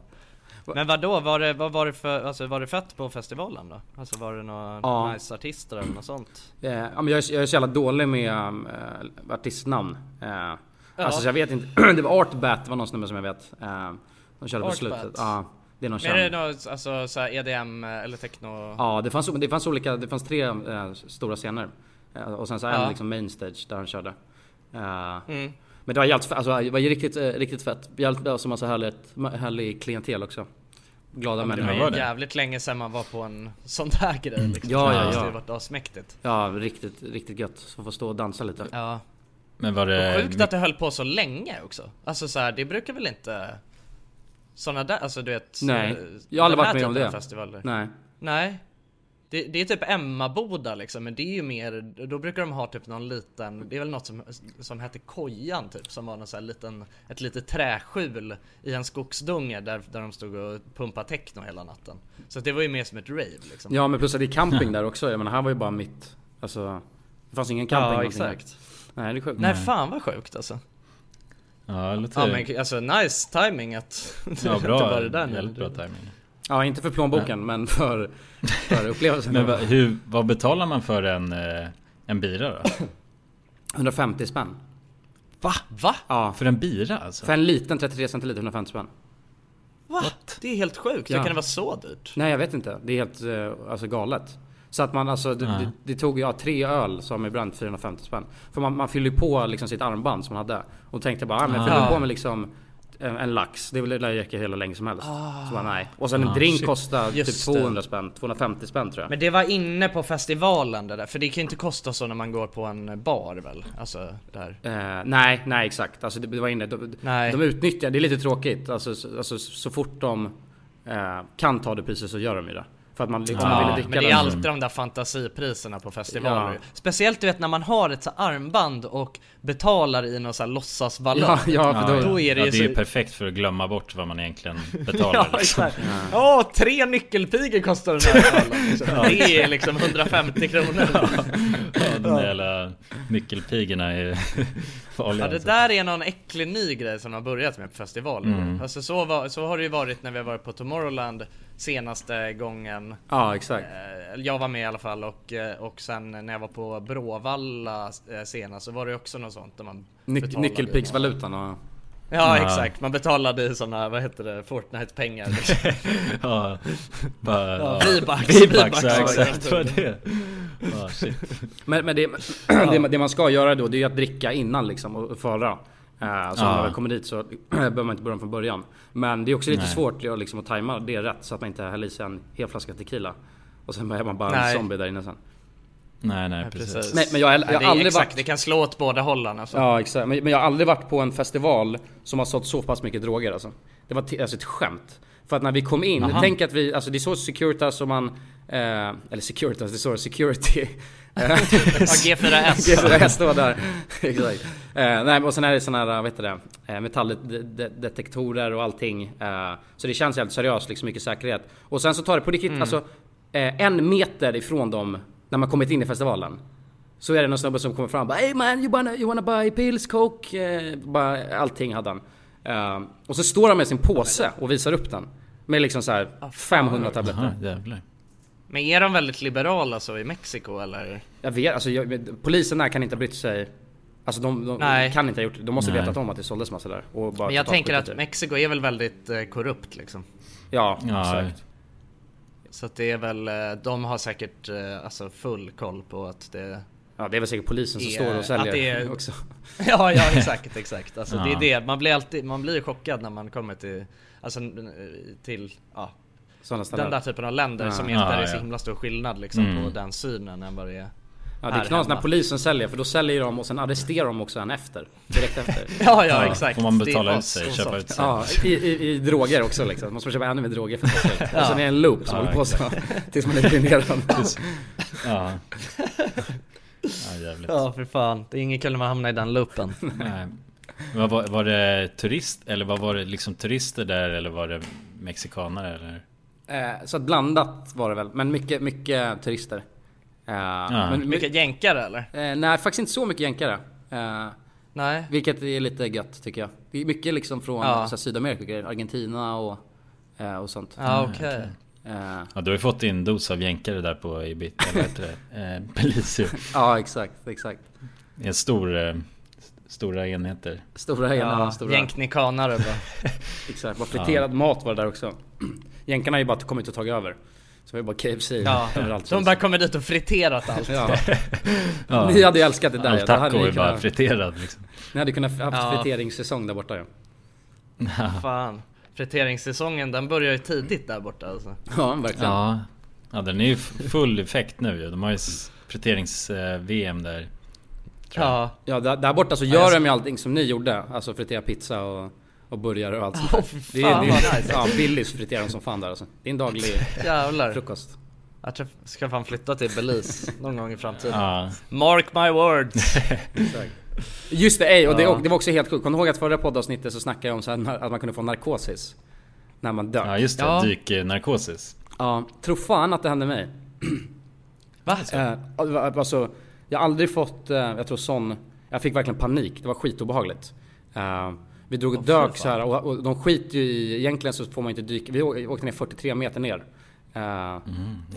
Speaker 2: Men vadå, var det, vad var det för, alltså var det fett på festivalen då? Alltså var det några
Speaker 1: Ja.
Speaker 2: nice artister eller något sånt?
Speaker 1: Eh, Ja, men jag, är, jag är så jävla dålig med um, eh, artistnamn. Eh, Alltså så jag vet inte. <clears throat> det var Artbat var någon snubbe som jag vet. Eh, de körde på
Speaker 2: Artbat.
Speaker 1: slutet. Ja, det är någon
Speaker 2: Men är det
Speaker 1: känd.
Speaker 2: något, alltså såhär EDM eller techno?
Speaker 1: Ja, det fanns, det fanns olika, det fanns tre eh, stora scener. Eh, och sen så en
Speaker 2: Ja. Mm.
Speaker 1: liksom main stage där han körde. Eh, Men det var jävligt, fe- alltså, det var ju riktigt, eh, riktigt fett. Jävligt, alltså massa härligt, härlig klientel också. Glada
Speaker 2: Det
Speaker 1: människor.
Speaker 2: var
Speaker 3: var
Speaker 2: ju
Speaker 3: det.
Speaker 2: jävligt länge sedan man var på en sån där grej liksom.
Speaker 1: Ja,
Speaker 2: Det
Speaker 1: ja,
Speaker 2: måste
Speaker 1: ja.
Speaker 2: ju varit asmäktigt
Speaker 1: Ja, riktigt, riktigt gött. Så få stå och dansa lite.
Speaker 2: Ja
Speaker 3: Men var det...
Speaker 1: Eh,
Speaker 2: Sjukt att det höll på så länge också. Alltså så här, det brukar väl inte... Såna där, alltså du vet...
Speaker 1: Nej,
Speaker 2: eh,
Speaker 1: jag har aldrig
Speaker 2: den
Speaker 1: varit
Speaker 2: här
Speaker 1: med om
Speaker 2: typen
Speaker 1: det.
Speaker 2: av Festivaler. Nej.
Speaker 1: Nej.
Speaker 2: Det, det är typ Emmaboda liksom, men det är ju mer... Då brukar de ha typ någon liten... Det är väl något som, som hette Kojan typ, som var någon så här liten... Ett litet träskjul i en skogsdunge där, där de stod och pumpade techno hela natten. Så att det var ju mer som ett rave liksom.
Speaker 1: Ja men plus att det är camping där också. Jag menar här var ju bara mitt. Alltså. Det fanns ingen camping.
Speaker 2: ja
Speaker 1: någonting där.
Speaker 2: exakt.
Speaker 1: Nej det är sjukt.
Speaker 2: Nej fan vad sjukt alltså.
Speaker 3: Ja, lite...
Speaker 2: Ja men alltså nice timing att...
Speaker 3: Ja,
Speaker 2: <laughs> att det
Speaker 3: bra.
Speaker 2: var det där nu.
Speaker 3: Jävligt bra timing.
Speaker 1: Ja inte för plånboken men för, för upplevelsen. <clears throat>
Speaker 3: Men va, hur, vad betalar man för en, eh, en bira då?
Speaker 1: 150 spänn.
Speaker 3: Va?
Speaker 2: Va?
Speaker 1: Ja.
Speaker 3: För en bira alltså?
Speaker 1: För en liten 33 centiliter, 150 spänn.
Speaker 2: What? Det är helt sjukt.
Speaker 1: Ja.
Speaker 2: Hur kan det vara så dyrt?
Speaker 1: Nej jag vet inte. Det är helt eh, alltså, galet. Så att man alltså, det,
Speaker 3: Ja.
Speaker 1: det, det tog ja, tre öl som ibland 450 spänn. För man, man fyller ju på liksom sitt armband som man hade. Och tänkte bara, ah, men jag fyller
Speaker 4: Ah.
Speaker 1: på med liksom en, en lax. Det lär ju räcka hela länge som helst. Så bara, nej. Och sen en drink
Speaker 3: shit.
Speaker 1: kostar
Speaker 2: Just
Speaker 1: typ
Speaker 2: det.
Speaker 1: 200 spänn. 250 spänn tror jag.
Speaker 2: Men det var inne på festivalen det där, för det kan ju inte kosta så när man går på en bar väl? Alltså, där.
Speaker 1: Eh, nej, nej exakt. Alltså, det, det var inne. De,
Speaker 2: Nej.
Speaker 1: de utnyttjar, det är lite tråkigt. Alltså, så, alltså, så fort de eh, kan ta det priset så gör de ju det. För att man, om man ville
Speaker 2: Ja,
Speaker 1: dricka
Speaker 2: men det
Speaker 1: den-
Speaker 2: är alltid de där fantasipriserna på festivaler.
Speaker 1: Ja.
Speaker 2: Speciellt du vet när man har ett så här armband och betalar i någon så här låtsasvallon.
Speaker 1: <laughs> Ja, ja,
Speaker 3: Ja,
Speaker 1: för då,
Speaker 2: Då är det
Speaker 3: ja,
Speaker 2: ju
Speaker 3: det är
Speaker 2: så-
Speaker 3: ju perfekt för att glömma bort vad man egentligen
Speaker 2: Ja,
Speaker 3: betalar liksom.
Speaker 2: exakt. Åh, tre nyckelpigor kostar den här ballen. liksom. Det är liksom 150 kronor.
Speaker 3: Ja, De där jävla nyckelpigorna är <laughs> farliga
Speaker 2: Ja, det
Speaker 3: alltså.
Speaker 2: där är någon äcklig ny grej som har börjat med på festivaler.
Speaker 3: Mm.
Speaker 2: Alltså så, var, så har det ju varit när vi har varit på Tomorrowland senaste gången.
Speaker 1: Ja, exakt.
Speaker 2: Eh, Jag var med i alla fall och, eh, och sen när jag var på Bråvalla eh, senast så var det också något sånt där man
Speaker 1: Nyc-
Speaker 2: betalade i-
Speaker 1: Nyckelpigsvalutan och...
Speaker 2: Ja exakt, man betalade i sådana, vad heter det,
Speaker 1: <laughs>
Speaker 2: Fortnite-pengar liksom.
Speaker 3: Ja, bara, ja.
Speaker 2: V-bucks,
Speaker 3: V-bucks,
Speaker 2: V-bucks,
Speaker 3: ja,
Speaker 2: ja,
Speaker 3: exakt
Speaker 2: exakt.
Speaker 3: vad det är. Ja, shit.
Speaker 1: Men, men det, <clears throat> det, man- det man ska göra då det är ju att dricka innan liksom och och föra. Eh, så när man väl kommer dit så <clears throat> behöver man inte börja om från början. Men det är också lite svårt ja, liksom, att tajma det rätt så att man inte häller i sig en hel flaska tequila. Och sen är man bara en
Speaker 2: Nej.
Speaker 1: zombie där inne sen.
Speaker 3: Nej, nej precis.
Speaker 2: Precis.
Speaker 1: Men, men jag, har- jag
Speaker 2: Nej,
Speaker 1: har
Speaker 2: det, är
Speaker 1: aldrig
Speaker 2: exakt,
Speaker 1: varit...
Speaker 2: det kan slå åt båda hållen alltså.
Speaker 1: Ja exakt, men, men jag har aldrig varit på en festival som har sålt så pass mycket droger alltså. Det var t- alltså ett skämt. För att när vi kom in, tänk att vi, alltså det är så Securitas som man... Eh, eller Securitas, det är så Security. Eh,
Speaker 2: Ja,
Speaker 1: <laughs>
Speaker 2: G4S.
Speaker 1: GPRS står där. Exakt. Eh, nej, men och sen är det såna här, vad heter det, eh, metalldetektorer och allting. Eh, så det känns helt seriöst, liksom mycket säkerhet. Och sen så tar det på riktigt, alltså eh, en meter ifrån dem när man kommit in i festivalen. Så är det någon snubbe som kommer fram och bara Hey man, you wanna, you wanna buy pills, coke? Eh, bara, allting hade han. Eh, och så står han med sin påse och visar upp den. Med liksom så här 500 tabletter.
Speaker 3: Jaha, jävlar.
Speaker 2: Men är de väldigt liberala så i Mexiko eller?
Speaker 1: Jag vet, alltså jag, men polisen där kan inte ha brytt sig. Alltså de, de
Speaker 2: Nej.
Speaker 1: kan inte ha gjort det. De måste ha
Speaker 3: Nej.
Speaker 1: vetat om att det såldes massa där. Och bara
Speaker 2: Men jag
Speaker 1: totalt
Speaker 2: tänker
Speaker 1: skitit
Speaker 2: att
Speaker 1: i det.
Speaker 2: Mexiko är väl väldigt eh, korrupt liksom.
Speaker 1: Ja,
Speaker 3: Ja,
Speaker 1: exakt.
Speaker 2: Så att det är väl, eh, de har säkert eh, alltså full koll på att det
Speaker 1: Ja, det är väl säkert polisen som
Speaker 2: Det-
Speaker 1: står och
Speaker 2: att
Speaker 1: säljer
Speaker 2: det är-
Speaker 1: <laughs> också.
Speaker 2: <laughs> Ja, ja exakt, exakt. Alltså,
Speaker 3: Ja.
Speaker 2: det är det. Man blir alltid, man blir ju chockad när man kommer till, alltså, n- till ja,
Speaker 1: Sådana ställen.
Speaker 2: den där typen av länder som
Speaker 3: Ja,
Speaker 2: inte där det är så
Speaker 3: ja. Mm.
Speaker 2: himla stor skillnad liksom, på den synen än vad det är. <laughs>
Speaker 1: ja, det är
Speaker 2: här
Speaker 1: knas när
Speaker 2: hemma.
Speaker 1: polisen säljer för då säljer de och sen arresterar de också en efter. Direkt
Speaker 3: <laughs>
Speaker 1: efter.
Speaker 2: Ja, ja,
Speaker 3: Ja,
Speaker 2: exakt.
Speaker 3: Får man
Speaker 2: Det
Speaker 3: betala
Speaker 2: var
Speaker 3: ut sig,
Speaker 2: så
Speaker 3: köpa
Speaker 2: sant.
Speaker 3: ut
Speaker 1: Ja,
Speaker 3: sig.
Speaker 1: i, i, i droger också liksom. Måste man köpa ännu mer droger för att få slut. Och sen är det en loop som
Speaker 3: Ja,
Speaker 1: håller på så. <laughs> Tills man är
Speaker 3: <laughs>
Speaker 1: deprimerad.
Speaker 3: Ja. ja, jävligt.
Speaker 2: <laughs> Ja, för fan. Det är inget kul när man hamnar i
Speaker 3: <laughs>
Speaker 2: den loopen.
Speaker 3: Nej. Vad var, var det turist eller vad var det liksom turister där eller var det mexikanare eller?
Speaker 1: Eh, så att blandat var det väl. Men mycket, mycket turister. Eh, men,
Speaker 2: Mycket jänkare eller?
Speaker 1: Eh, nej, faktiskt inte så mycket jänkare. Eh,
Speaker 2: Nej.
Speaker 1: vilket är lite gött tycker jag. Det är mycket liksom från
Speaker 2: Ja.
Speaker 1: så här, Sydamerika, och grejer. Argentina och, eh, och sånt.
Speaker 2: Ja, okej.
Speaker 1: Eh,
Speaker 3: Ja, du har ju fått in dos av jänkare där på Ibiza, eller vad heter det? Eh, Belize.
Speaker 1: ja, exakt, exakt.
Speaker 3: Det är en stor, eh, st- stora enheter.
Speaker 1: Stora ena,
Speaker 2: Ja,
Speaker 1: stora...
Speaker 2: Jänknikanare <laughs> bara.
Speaker 1: Exakt, bara friterad mat var det där också. Jänkarna har ju bara kommit och tagit över. Så vi har bara KFC
Speaker 2: Ja.
Speaker 1: överallt.
Speaker 2: De bara kommer dit och
Speaker 3: <laughs>
Speaker 2: friterat allt.
Speaker 1: Ja.
Speaker 3: Ja.
Speaker 1: Ni hade ju älskat det där.
Speaker 3: All
Speaker 1: ja. Då hade
Speaker 3: taco
Speaker 1: ni,
Speaker 3: är bara
Speaker 1: kunnat,
Speaker 3: friterad liksom.
Speaker 1: ni hade kunnat haft
Speaker 2: Ja.
Speaker 1: friteringssäsong där borta ju.
Speaker 2: Fan. Friteringssäsongen den börjar ju tidigt där borta alltså.
Speaker 1: Ja, verkligen.
Speaker 3: Ja. ja, den är ju f- full effekt nu ju. De har ju s- friterings-VM där.
Speaker 2: Ja.
Speaker 1: Ja, där, där borta så gör de ju allting som ni gjorde. Alltså fritera pizza och, och burgare och allt sånt där. Det är,
Speaker 2: fan,
Speaker 1: det är,
Speaker 2: vad nice.
Speaker 1: ja, Billys friterar de som fan där alltså. Det är en
Speaker 2: <laughs>
Speaker 1: daglig
Speaker 2: Jävlar.
Speaker 1: frukost.
Speaker 2: Jag tror- ska fan flytta till Belize <laughs> någon gång i framtiden.
Speaker 3: Ja,
Speaker 2: Mark my words.
Speaker 1: Just det, ej, och det,
Speaker 2: Ja.
Speaker 1: och det var också helt sjukt. Kommer du ihåg att förra poddavsnittet så snackade jag om så här, när- att man kunde få narkosis? När man dör.
Speaker 3: ja
Speaker 1: Ja,
Speaker 3: just det.
Speaker 2: Ja.
Speaker 3: Dyknarkosis.
Speaker 1: tro fan att det hände mig.
Speaker 2: Va?
Speaker 1: Eh, alltså, jag har aldrig fått, eh, jag tror sån, jag fick verkligen panik. Det var skitobehagligt. Eh, vi drog och dök så här och, och de skiter ju i, egentligen så får man inte dyka. Vi å- åkte ner 43 meter ner.
Speaker 2: Mm,
Speaker 1: Eh,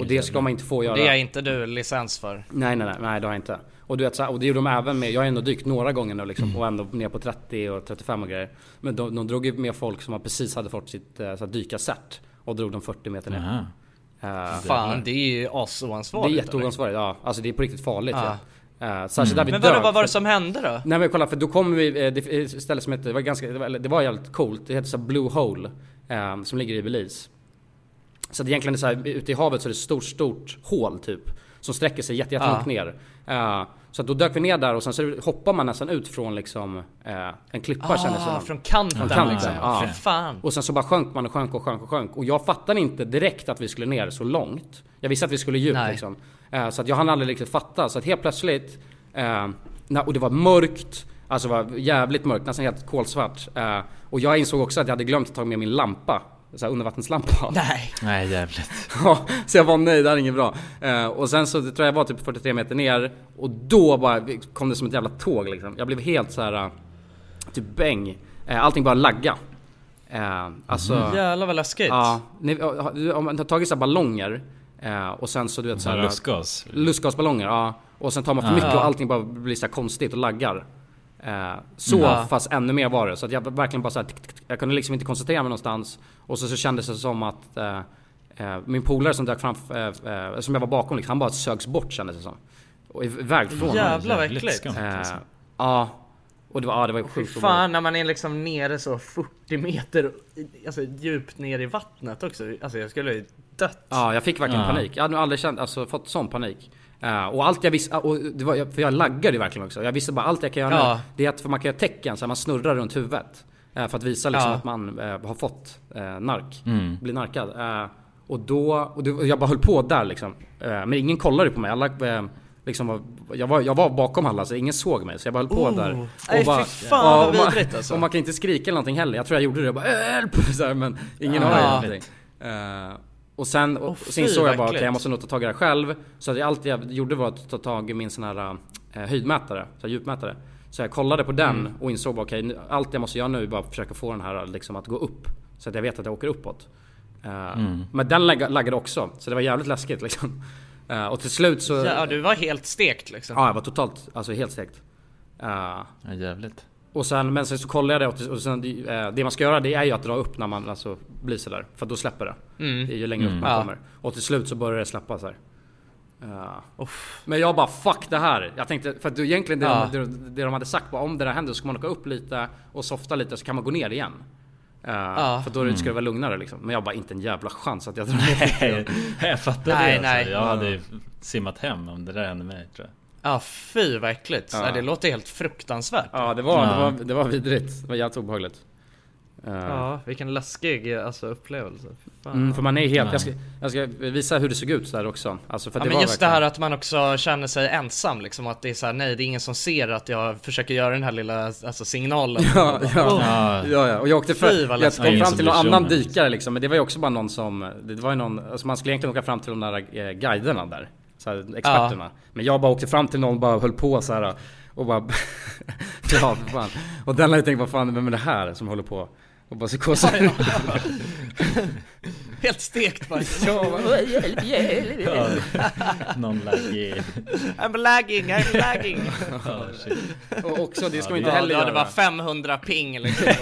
Speaker 1: och det ska man inte få göra.
Speaker 2: Det är inte du licens för.
Speaker 1: Nej, nej, nej, nej det har jag inte. Och, du vet, så här, och det gjorde de även med, jag har ändå dykt några gånger nu liksom, och ändå ner på 30 och 35 och grejer. Men de, de drog ju med folk som precis hade fått sitt eh, så här, dykacert och drog dem 40 meter ner.
Speaker 3: Aha.
Speaker 1: Eh,
Speaker 2: Fan det är ju
Speaker 1: det är
Speaker 2: asoansvarigt.
Speaker 1: jätteoansvarigt, ja. Alltså det är på riktigt farligt.
Speaker 2: Ja. Mm.
Speaker 1: Ja. Eh, särskilt där vi
Speaker 2: Men
Speaker 1: dör.
Speaker 2: vadå, vad var det som hände då?
Speaker 1: Nej men kolla för då kommer vi, eh, det är ett ställe som heter, det var ganska, det var, eller det var jävligt coolt, det heter så här Blue Hole. eh, som ligger i Belize. Så att egentligen är det så här, ute i havet så är det ett stort, stort hål typ. Som sträcker sig jätte, jättelångt
Speaker 2: Ah.
Speaker 1: ner. Eh, så att då dök vi ner där och sen så hoppar man nästan ut från liksom eh, en klippa kändes det
Speaker 2: Ah,
Speaker 1: som.
Speaker 2: från kanten
Speaker 1: Från kanten,
Speaker 2: liksom.
Speaker 1: ja.
Speaker 2: Fy Fan.
Speaker 1: Och sen så bara sjönk man och sjönk och sjönk och sjönk. Och jag fattade inte direkt att vi skulle ner så långt. Jag visste att vi skulle djupt
Speaker 2: Nej.
Speaker 1: liksom. Eh, Så att jag hann aldrig riktigt fatta. Så att helt plötsligt, eh, när- och det var mörkt. Alltså det var jävligt mörkt, nästan helt kolsvart. Eh, Och jag insåg också att jag hade glömt att ta med min lampa. Så här undervattenslampa.
Speaker 2: <laughs> Nej.
Speaker 3: Nej jävligt.
Speaker 1: Ja, så jag var nej, det här är inget bra. Eh, och sen så tror jag jag var typ 43 meter ner och då bara kom det som ett jävla tåg liksom. Jag blev helt så här eh, typ bäng. Eh, allting bara lagga. Eh, alltså,
Speaker 2: Jävlar vad läskigt.
Speaker 1: ja, ni, om man har tagit så här ballonger eh, och sen så du vet så här,
Speaker 3: Lustgas.
Speaker 1: lustgasballonger, ja. Och sen tar man för mycket och allting bara blir så här konstigt och laggar. Eh, Så
Speaker 2: Mm. Ja.
Speaker 1: fast ännu mer var det. Så att jag verkligen bara så här, tick, tick, tick. jag kunde liksom inte koncentrera mig någonstans. Och så, så kändes det som att eh, eh, min polare som dök fram, eh, eh, som jag var bakom, liksom, han bara sögs bort kändes det som. Och iväg från mig.
Speaker 2: Jävlar vad
Speaker 3: Jävligt
Speaker 2: äckligt.
Speaker 3: skumt. alltså.
Speaker 1: Eh, Ja. Och det var, ja, det var
Speaker 2: Fy
Speaker 1: sjukt obehagligt.
Speaker 2: fan när man är liksom nere så 40 meter i- alltså, djupt ner i vattnet också. Alltså jag skulle ju dött.
Speaker 1: Ja, jag fick verkligen
Speaker 3: Ja.
Speaker 1: panik. Jag hade nog aldrig känt, alltså, fått sån panik. Eh, och allt jag visste, och det var, för jag laggade ju verkligen också. Jag visste bara allt jag kan göra
Speaker 2: Ja.
Speaker 1: nu. Det är att för man kan göra tecken, så här, man snurrar runt huvudet. eh, för att visa liksom,
Speaker 2: Ja. Mm.
Speaker 1: att man eh, har fått eh, nark. Blir narkad. Eh, och då, och det, och jag bara höll på där liksom. Eh, men ingen kollade på mig. Alla, eh, liksom, var, jag, var, jag var bakom alla så ingen såg mig. Så jag bara höll på där. Och
Speaker 2: Oh. Nej, fy fan,
Speaker 1: ja,
Speaker 2: vad
Speaker 1: och man-
Speaker 2: vidrigt, alltså.
Speaker 1: Och man kan inte skrika eller någonting heller. Jag tror jag gjorde det. Jag bara hjälp! Så här, men ingen
Speaker 2: Ja.
Speaker 1: har ju
Speaker 2: Ja.
Speaker 1: någonting. Eh, och sen, och,
Speaker 2: Åh,
Speaker 1: så
Speaker 2: fy,
Speaker 1: insåg jag bara
Speaker 2: verkligt.
Speaker 1: att jag måste nog ta tag i det här själv. Så att jag, allt jag gjorde var att ta tag i min sån här eh, höjdmätare, så här djupmätare. Så jag kollade på den
Speaker 2: Mm.
Speaker 1: och insåg bara okej, nu- allt jag måste göra nu är bara att försöka få den här liksom, att gå upp. Så att jag vet att jag åker uppåt. Eh,
Speaker 2: Mm.
Speaker 1: Men den lagga- laggade också, så det var jävligt läskigt liksom. Eh, och till slut så...
Speaker 2: Ja,
Speaker 1: Ja,
Speaker 2: du var helt stekt liksom.
Speaker 1: jag var totalt, alltså helt stekt. Eh,
Speaker 3: Ja, jävligt.
Speaker 1: och sen, men sen så kollade jag det och, och sen, eh, det man ska göra det är ju att dra upp när man alltså, blir sådär. För då släpper det. det är ju längre upp man
Speaker 2: Ja.
Speaker 1: kommer. Och till slut så börjar det släppa så här. Ja. Men jag bara fuck det här. Jag tänkte, för att du, egentligen det,
Speaker 2: Ja.
Speaker 1: de, det, det de hade sagt var om det där händer så ska man åka upp lite och softa lite så kan man gå ner igen. Eh, För då är det- ska det vara lugnare liksom. Men jag bara inte en jävla chans att jag drar ner.
Speaker 3: jag fattar
Speaker 2: Nej,
Speaker 3: det.
Speaker 2: nej.
Speaker 3: Alltså. Jag hade ju simmat hem om det där hände mig tror jag.
Speaker 2: Ja, fy vad äckligt. Ja. Det låter helt fruktansvärt.
Speaker 1: <laughs> ja det var,
Speaker 3: Ja.
Speaker 1: Det, var, det var vidrigt. Det var jävligt obehagligt. Eh,
Speaker 2: Ja, vilken läskig alltså, upplevelse. Fan.
Speaker 1: Mm, för man är helt, jag ska, jag ska visa hur det såg ut där också. Alltså för
Speaker 2: Ja,
Speaker 1: det
Speaker 2: men
Speaker 1: var
Speaker 2: just
Speaker 1: verkligen-
Speaker 2: det här att man också känner sig ensam liksom. Att det är så här, nej det är ingen som ser att jag försöker göra den här lilla alltså, signalen.
Speaker 1: Ja, ja.
Speaker 3: Ja,
Speaker 1: Ja, ja, och jag åkte
Speaker 2: Fy,
Speaker 1: för,
Speaker 2: vad
Speaker 1: jag
Speaker 2: läskigt.
Speaker 1: kom
Speaker 3: Ingen
Speaker 1: fram
Speaker 3: som
Speaker 1: till någon
Speaker 3: bryr sig om
Speaker 1: annan
Speaker 3: det.
Speaker 1: dykare liksom, men det var ju också bara någon som, det var ju någon, alltså man skulle egentligen åka fram till de där eh, guiderna där, så här, experterna. Men jag bara åkte fram till någon och bara höll på så här och bara, <laughs> ja för fan. Och den lär ju tänka, vad fan, vem är det här som håller på? Och bara psykoser. Ja, <laughs>
Speaker 2: Helt stekt bara.
Speaker 3: <laughs> någon laggig.
Speaker 2: I'm lagging, I'm lagging.
Speaker 3: Ja, shit.
Speaker 1: och också, det ska man inte
Speaker 2: ja,
Speaker 1: heller
Speaker 2: då hade
Speaker 1: göra.
Speaker 2: bara 500 ping liksom.
Speaker 1: <laughs>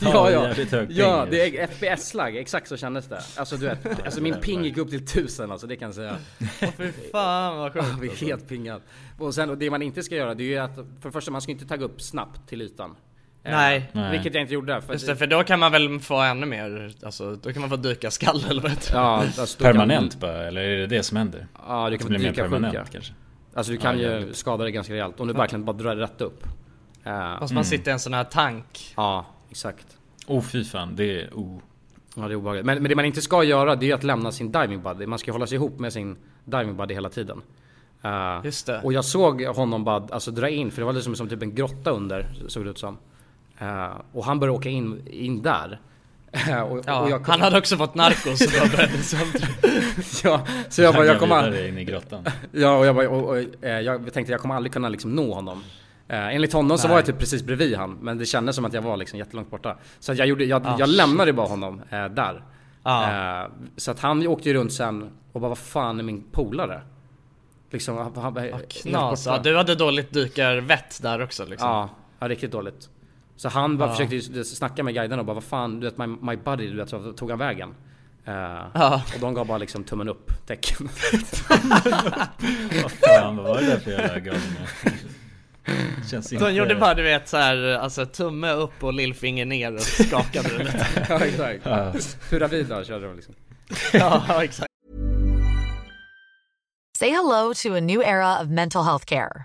Speaker 1: Ja, ja.
Speaker 3: jävligt hög ping,
Speaker 1: ja
Speaker 3: alltså.
Speaker 1: det är FPS-lagg, exakt så kändes det. Alltså du vet, alltså min ping gick upp till tusen alltså, det kan jag säga.
Speaker 2: Fy fan vad sjukt.
Speaker 1: Jag blir
Speaker 3: Alltså.
Speaker 1: helt pingad. Och sen och det man inte ska göra det är ju att för det första man ska inte tagga upp snabbt till ytan. Eh,
Speaker 2: Nej.
Speaker 3: Nej.
Speaker 1: Vilket jag inte gjorde. För
Speaker 2: Just det, för då kan man väl få ännu mer, alltså då kan man få dyka skall eller vad heter det?
Speaker 1: Ja, alltså, då kan-
Speaker 3: Permanent bara, eller är det det som händer?
Speaker 1: Ja, du
Speaker 3: Att
Speaker 1: kan bli
Speaker 3: det blir mer
Speaker 1: dyka
Speaker 3: permanent
Speaker 1: sjuka.
Speaker 3: kanske?
Speaker 1: Alltså du kan ju skada dig ganska rejält om du verkligen bara drar rätt upp. Eh,
Speaker 2: Fast man sitter i en sån här tank.
Speaker 1: Ja, exakt.
Speaker 3: Oh fy fan, det är oh.
Speaker 1: Ja, det är obehagligt. Men, men det man inte ska göra det är att lämna sin diving buddy. Man ska ju hålla sig ihop med sin diving buddy hela tiden. Eh,
Speaker 2: Just det.
Speaker 1: Och jag såg honom bara alltså, dra in, för det var liksom som typ en grotta under, såg det ut som. Eh, och han började åka in, in där. Eh, och, och
Speaker 2: Ja,
Speaker 1: jag,
Speaker 2: han hade också fått narkos och bara började sömndra.
Speaker 1: <laughs> ja, så jag bara, jag
Speaker 3: Taggar
Speaker 1: kommer,
Speaker 3: vidare in
Speaker 1: <laughs>
Speaker 3: i grottan.
Speaker 1: ja, och jag, bara, och, och, eh, jag tänkte jag kommer aldrig kunna liksom nå honom. Eh, enligt honom så var jag typ precis bredvid han, men det kändes som att jag var liksom jättelångt borta. Så att jag, gjorde, jag,
Speaker 2: Ah,
Speaker 1: jag lämnade bara honom eh, där.
Speaker 2: Ja. Ah.
Speaker 1: Eh, så att han åkte ju runt sen och bara, vad fan är min polare? Liksom, han, han, helt
Speaker 2: Knas,
Speaker 1: borta.
Speaker 2: ja, du hade dåligt dykarvett där också liksom.
Speaker 1: Ja, ja, riktigt dåligt. Så han bara försökte ju snacka med guiderna och bara vad fan, du vet my, my buddy, du vet, så tog han vägen? Eh,
Speaker 2: Ja.
Speaker 1: Och de gav bara liksom tummen upp tecken.
Speaker 3: Fan vad var det där för jävla
Speaker 1: <laughs>
Speaker 3: galningar? Känns inte...
Speaker 2: De gjorde bara du vet såhär, alltså tumme upp och lillfinger ner och skakade det lite.
Speaker 1: ja exakt. Hurra-vida körde de liksom.
Speaker 2: Ja, exakt.
Speaker 6: Say hello to a new era of mental health care.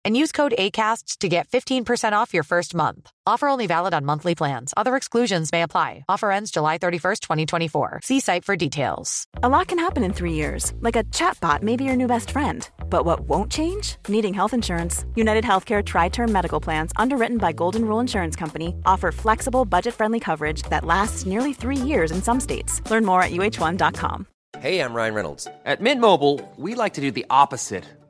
Speaker 6: and use code ACAST to get 15% off your first month. Offer only valid on monthly plans. Other exclusions may apply. Offer ends July 31st, 2024. See site for details.
Speaker 7: A lot can happen in three years, like a chatbot may be your new best friend. But what won't change? Needing health insurance. United Healthcare Tri Term Medical Plans, underwritten by Golden Rule Insurance Company, offer flexible, budget friendly coverage that lasts nearly three years in some states. Learn more at uh1.com.
Speaker 8: Hey, I'm Ryan Reynolds. At Mint Mobile, we like to do the opposite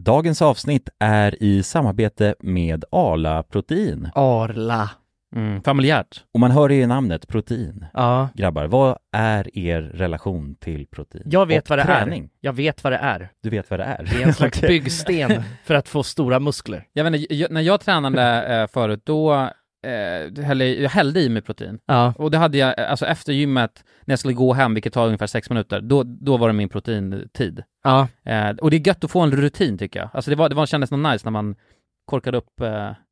Speaker 9: Dagens avsnitt är i samarbete med Arla Protein.
Speaker 4: Arla. Mm, familjärt.
Speaker 9: Och man hör ju i namnet protein.
Speaker 4: Ja.
Speaker 9: Grabbar, vad är er relation till protein?
Speaker 4: Jag vet
Speaker 9: Och
Speaker 4: vad det är.
Speaker 9: träning?
Speaker 4: Jag vet vad det är.
Speaker 9: Du vet vad det är?
Speaker 4: Det är en slags
Speaker 9: Okej.
Speaker 4: byggsten för att få stora muskler.
Speaker 5: Jag vet inte, jag, när jag tränade eh, förut, då eh, hällde jag hällde i mig protein.
Speaker 4: Ja.
Speaker 5: Och det hade jag, eh, alltså efter gymmet, när jag skulle gå hem, vilket tar ungefär sex minuter, då, då var det min proteintid.
Speaker 4: Ja.
Speaker 5: Eh, och det är gött att få en rutin tycker jag. Alltså det, var, det var, kändes nog nice när man korkade upp... Eh...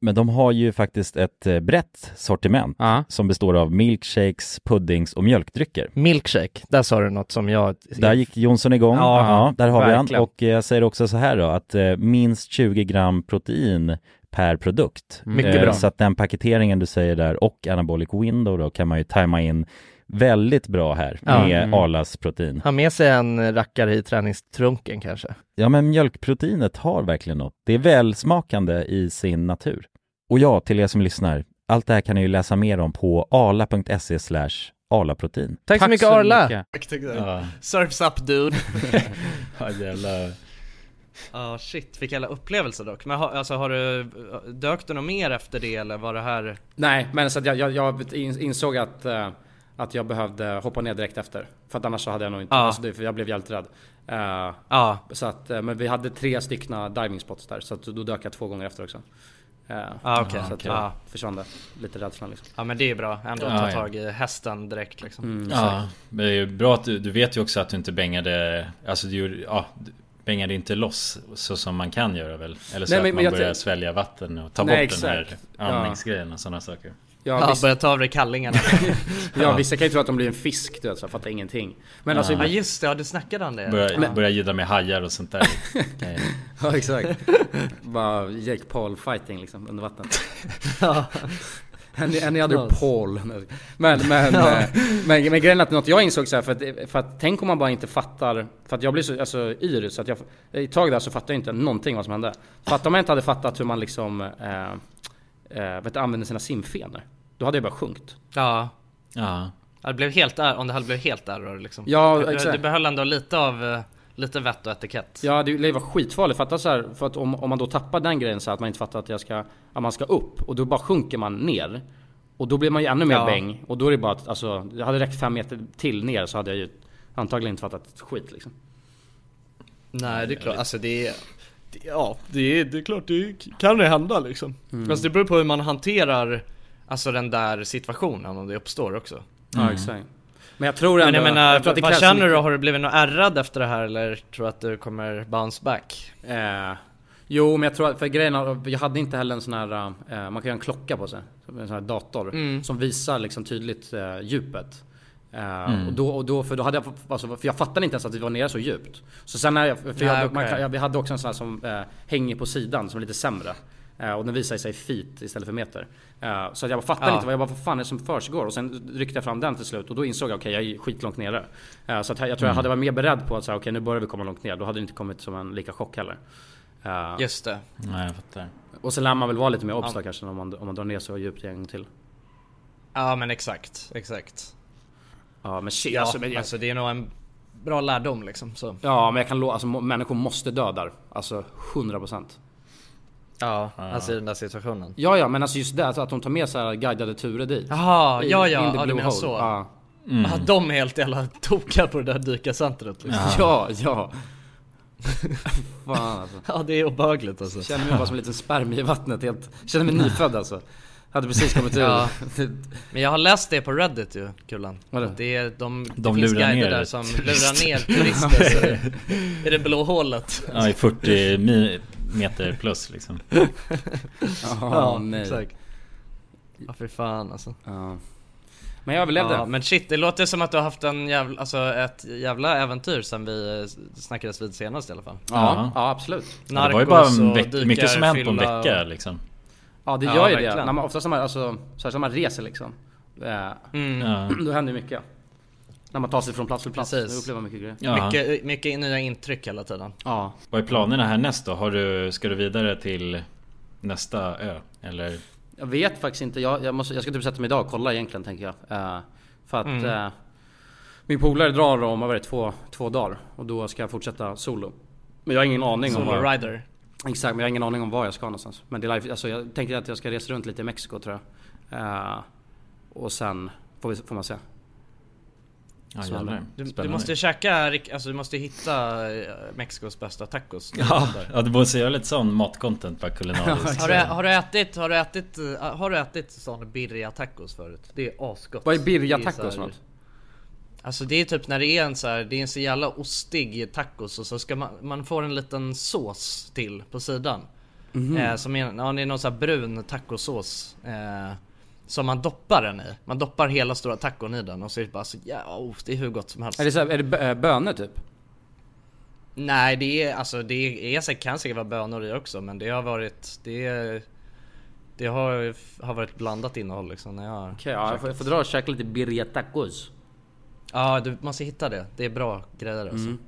Speaker 9: men de har ju faktiskt ett eh, brett sortiment
Speaker 5: Ja.
Speaker 9: som består av milkshakes, puddings och mjölkdrycker.
Speaker 4: Milkshake, där sa du något som jag...
Speaker 9: Där gick Jonsson igång.
Speaker 5: Ja,
Speaker 9: Ja, där har vi
Speaker 5: verkligen.
Speaker 9: han. Och eh, jag säger också så här då, att eh, minst 20 gram protein per produkt.
Speaker 4: Mycket
Speaker 9: Eh,
Speaker 4: bra.
Speaker 9: Så att den paketeringen du säger där och anabolic window då kan man ju tajma in väldigt bra här
Speaker 4: Ja.
Speaker 9: med
Speaker 5: Mm.
Speaker 9: Arlas protein.
Speaker 4: Ha med sig en rackare i träningstrunken kanske.
Speaker 9: Ja men mjölkproteinet har verkligen något. Det är välsmakande i sin natur. Och ja, till er som lyssnar, allt det här kan ni ju läsa mer om på arla.se slash arlaprotein.
Speaker 4: Tack, så mycket Arla!
Speaker 3: Ja,
Speaker 2: Surfs up dude.
Speaker 3: ja jävla...
Speaker 2: Ja shit, vilka jävla upplevelser dock. Men har, alltså har du, dök du något mer efter det eller var det här?
Speaker 1: Nej, men så att jag, jag, jag in- insåg att, eh, att jag behövde hoppa ner direkt efter. För att annars så hade jag nog inte...
Speaker 2: Ja.
Speaker 1: Alltså det, för jag blev jävligt rädd. Eh,
Speaker 2: Ja,
Speaker 1: så att, eh, men vi hade tre styckna diving spots där, så att då dök jag två gånger efter också. Eh,
Speaker 2: ah, okej.
Speaker 1: Så att
Speaker 2: Okay.
Speaker 1: jag
Speaker 2: Ja,
Speaker 1: försvann där. Lite rädslan liksom.
Speaker 2: ja men det är bra ändå att
Speaker 3: Ja,
Speaker 2: ta
Speaker 3: ja.
Speaker 2: tag i hästen direkt liksom.
Speaker 3: Ja, men det är ju bra att du, du vet ju också att du inte bängade, alltså du gjorde, ja, du bängade inte loss så som man kan göra väl? Eller så
Speaker 1: Nej, men-
Speaker 3: att
Speaker 1: men
Speaker 3: man
Speaker 1: jag
Speaker 3: börjar
Speaker 1: tänk-
Speaker 3: svälja vatten och ta
Speaker 1: Nej,
Speaker 3: bort den här
Speaker 1: exakt. Ja.
Speaker 3: andningsgrejen och sådana saker.
Speaker 1: Jag,
Speaker 2: Ja,
Speaker 1: visst,
Speaker 2: börja ta av dig kallingarna.
Speaker 1: ja, vissa kan ju tro att de blir en fisk du vet, så jag fattar ingenting. Men alltså...
Speaker 2: Ja just det, ja, du snackade om det.
Speaker 3: Börja, börja gidra med hajar
Speaker 1: <laughs>
Speaker 3: och sånt där. Kan ju-
Speaker 1: Ja exakt. <laughs> Bara Jake Paul fighting liksom under <laughs> vattnet. Any, any other Paul. Men, <laughs> men, eh, men, men grejen är att något jag insåg så här, för att, för att tänk om man bara inte fattar. För att jag blir så alltså, yr så att jag, i ett tag där så fattar jag inte någonting vad som hände. Fattar om jag inte hade fattat hur man liksom, eh, eh, vet, du, använder sina simfenor. Då hade jag bara sjunkit.
Speaker 2: Ja.
Speaker 3: Ja.
Speaker 2: Ja, Det blev helt är, om det hade blivit helt error liksom.
Speaker 1: Ja,
Speaker 2: det,
Speaker 1: exakt.
Speaker 2: det behöll ändå lite av eh, lite vett och etikett.
Speaker 1: Ja det det var skitfarligt, fatta så här, för att om, om man då tappar den grejen så här, att man inte fattar att jag ska, att man ska upp och då bara sjunker man ner. Och då blir man ju ännu mer
Speaker 2: Ja.
Speaker 1: bäng och då är det bara att alltså, det hade räckt fem meter till ner så hade jag ju antagligen inte fattat ett skit liksom.
Speaker 10: Nej det är klart, alltså det är det- Ja, det är, det är klart det kan det hända liksom
Speaker 1: Mm.
Speaker 10: Alltså det beror på hur man hanterar Alltså den där situationen om det uppstår också
Speaker 1: Ja exakt. Mm. Men jag tror ändå,
Speaker 2: Men jag menar,
Speaker 1: tror att det
Speaker 2: vad
Speaker 1: krävs
Speaker 2: känner
Speaker 1: mycket.
Speaker 2: du? Har du blivit något ärrad efter det här eller tror du att du kommer bounce back?
Speaker 1: Eh, jo men jag tror att, för grejen är- jag hade inte heller en sån här, eh, man kan göra en klocka på sig. En sån här dator.
Speaker 2: Mm.
Speaker 1: Som visar liksom tydligt eh, djupet. Eh,
Speaker 3: Mm.
Speaker 1: och, då, och då, för då hade jag, alltså, för jag fattade inte ens att vi var nere så djupt. Så sen när jag, för jag,
Speaker 2: Nej,
Speaker 1: man,
Speaker 2: okej.
Speaker 1: kan- jag, vi hade också en sån här som eh, hänger på sidan som är lite sämre. Eh, och den visar sig i feet istället för meter. Eh, så att jag fattade
Speaker 2: Ja.
Speaker 1: inte, vad jag bara vad fan är det som försiggår? Och sen ryckte jag fram den till slut och då insåg jag okej jag är skitlångt nere. Eh, så att jag, jag tror
Speaker 2: Mm.
Speaker 1: jag hade varit mer beredd på att säga okej nu börjar vi komma långt ner. Då hade det inte kommit som en lika chock heller. Eh,
Speaker 2: Just det.
Speaker 3: Nej jag fattar.
Speaker 1: Och sen lär man väl vara lite mer obsta kanske om man, om man drar ner så djupt en gång till.
Speaker 2: Ja men exakt, exakt.
Speaker 1: Ja men shit
Speaker 2: Ja,
Speaker 1: alltså, men jag,
Speaker 2: alltså det är nog en bra lärdom liksom så.
Speaker 1: Ja men jag kan lova, alltså må- människor måste dö där. Alltså 100%.
Speaker 2: Ja, alltså i den där situationen.
Speaker 1: Ja ja men alltså just det, alltså att de tar med så här guidade turer dit.
Speaker 2: Jaha,
Speaker 1: I-
Speaker 2: ja
Speaker 1: in
Speaker 2: ja,
Speaker 1: the
Speaker 2: ja du
Speaker 1: blue
Speaker 2: menar
Speaker 1: hole.
Speaker 2: så.
Speaker 1: Ja.
Speaker 2: Ja, de är helt jävla tokiga på det där dykarcentret liksom.
Speaker 1: <laughs> Ja, ja. Fan
Speaker 2: <laughs>
Speaker 1: alltså.
Speaker 2: Ja det är obehagligt alltså.
Speaker 1: Känner mig bara som en liten spermie i vattnet helt. Känner mig nyfödd alltså. Hade
Speaker 2: <laughs>
Speaker 1: precis kommit ur.
Speaker 2: Ja. Men jag har läst det på Reddit ju, Kulan.
Speaker 1: Vadå?
Speaker 2: Att Det är de, det
Speaker 3: De
Speaker 2: finns
Speaker 3: lurar
Speaker 2: guider
Speaker 3: ner
Speaker 2: där
Speaker 3: det.
Speaker 2: som
Speaker 3: <laughs>
Speaker 2: lurar ner turister så det- i det blå hålet.
Speaker 3: Ja i 40 mi- meter plus liksom.
Speaker 1: Ja, nej.
Speaker 2: Ja för fan alltså.
Speaker 1: Ja. Men jag överlevde.
Speaker 2: Ja, men shit, det låter som att du har haft en jävla, alltså ett jävla äventyr sen vi eh, snackades vid senast i alla fall.
Speaker 1: ja, ja absolut.
Speaker 3: Ja, det var ju bara en
Speaker 2: och
Speaker 3: veck- mycket som hänt på en
Speaker 2: dykarfylla och-
Speaker 3: vecka liksom.
Speaker 1: Ja det
Speaker 2: Ja,
Speaker 1: gör ju det.
Speaker 2: verkligen.
Speaker 1: När man, oftast när man, alltså, särskilt när man reser liksom. Eh,
Speaker 3: Ja.
Speaker 1: <clears throat> Då händer ju mycket. När man tar sig från plats till plats.
Speaker 2: Mm. Precis.
Speaker 1: Då upplever man mycket grejer.
Speaker 3: liksom. Ja.
Speaker 2: Mycket, mycket nya intryck hela tiden.
Speaker 1: Ja.
Speaker 3: Vad är planerna härnäst då? Har du, ska du vidare till nästa ö? Eller?
Speaker 1: Jag vet faktiskt inte. Jag, jag, måste, jag ska typ sätta mig idag och kolla egentligen tänker jag. Eh, för att eh, min polare drar om vad var det, två, två dagar. Och då ska jag fortsätta solo. Men jag har ingen aning om
Speaker 2: Solo
Speaker 1: var,
Speaker 2: rider.
Speaker 1: Exakt, men jag har ingen aning om var jag ska någonstans. Men det är life, alltså, jag tänker att jag ska resa runt lite i Mexiko tror jag. Eh, och sen får, vi, får man se.
Speaker 3: Ja,
Speaker 1: Spännande.
Speaker 3: jävlar.
Speaker 2: Du, du
Speaker 3: Spännande.
Speaker 2: måste ju käka, rik- alltså du måste ju hitta eh, Mexikos bästa tacos.
Speaker 3: Ja, ja, du måste göra lite sån matcontent bara kulinariskt.
Speaker 2: Har du, har du ätit, har du ätit, eh, har du ätit sån birria tacos förut? Det är asgott.
Speaker 1: Vad är birria
Speaker 2: Det så
Speaker 1: tacos
Speaker 2: här-
Speaker 1: för något?
Speaker 2: Alltså det är typ när det är en så här, det är en så jävla ostig tacos och så ska man, man får en liten sås till på sidan.
Speaker 1: Mhm.
Speaker 2: Eh, som är, ja, det är någon så här brun tacosås. Eh, som man doppar den i. Man doppar hela stora tacon i den och så är det bara så ja, oh, det är hur gott som helst.
Speaker 1: Är det, så här, är det bö- eh, bönor typ?
Speaker 2: Nej det är alltså det är, säkert- kan säkert vara bönor i också men det har varit, det är, det har, har varit blandat innehåll liksom när jag har
Speaker 1: Okej, ja, jag, får, jag får dra och käka lite birria tacos.
Speaker 2: Ja, du måste hitta det. Det är bra grejer alltså.
Speaker 1: Mm.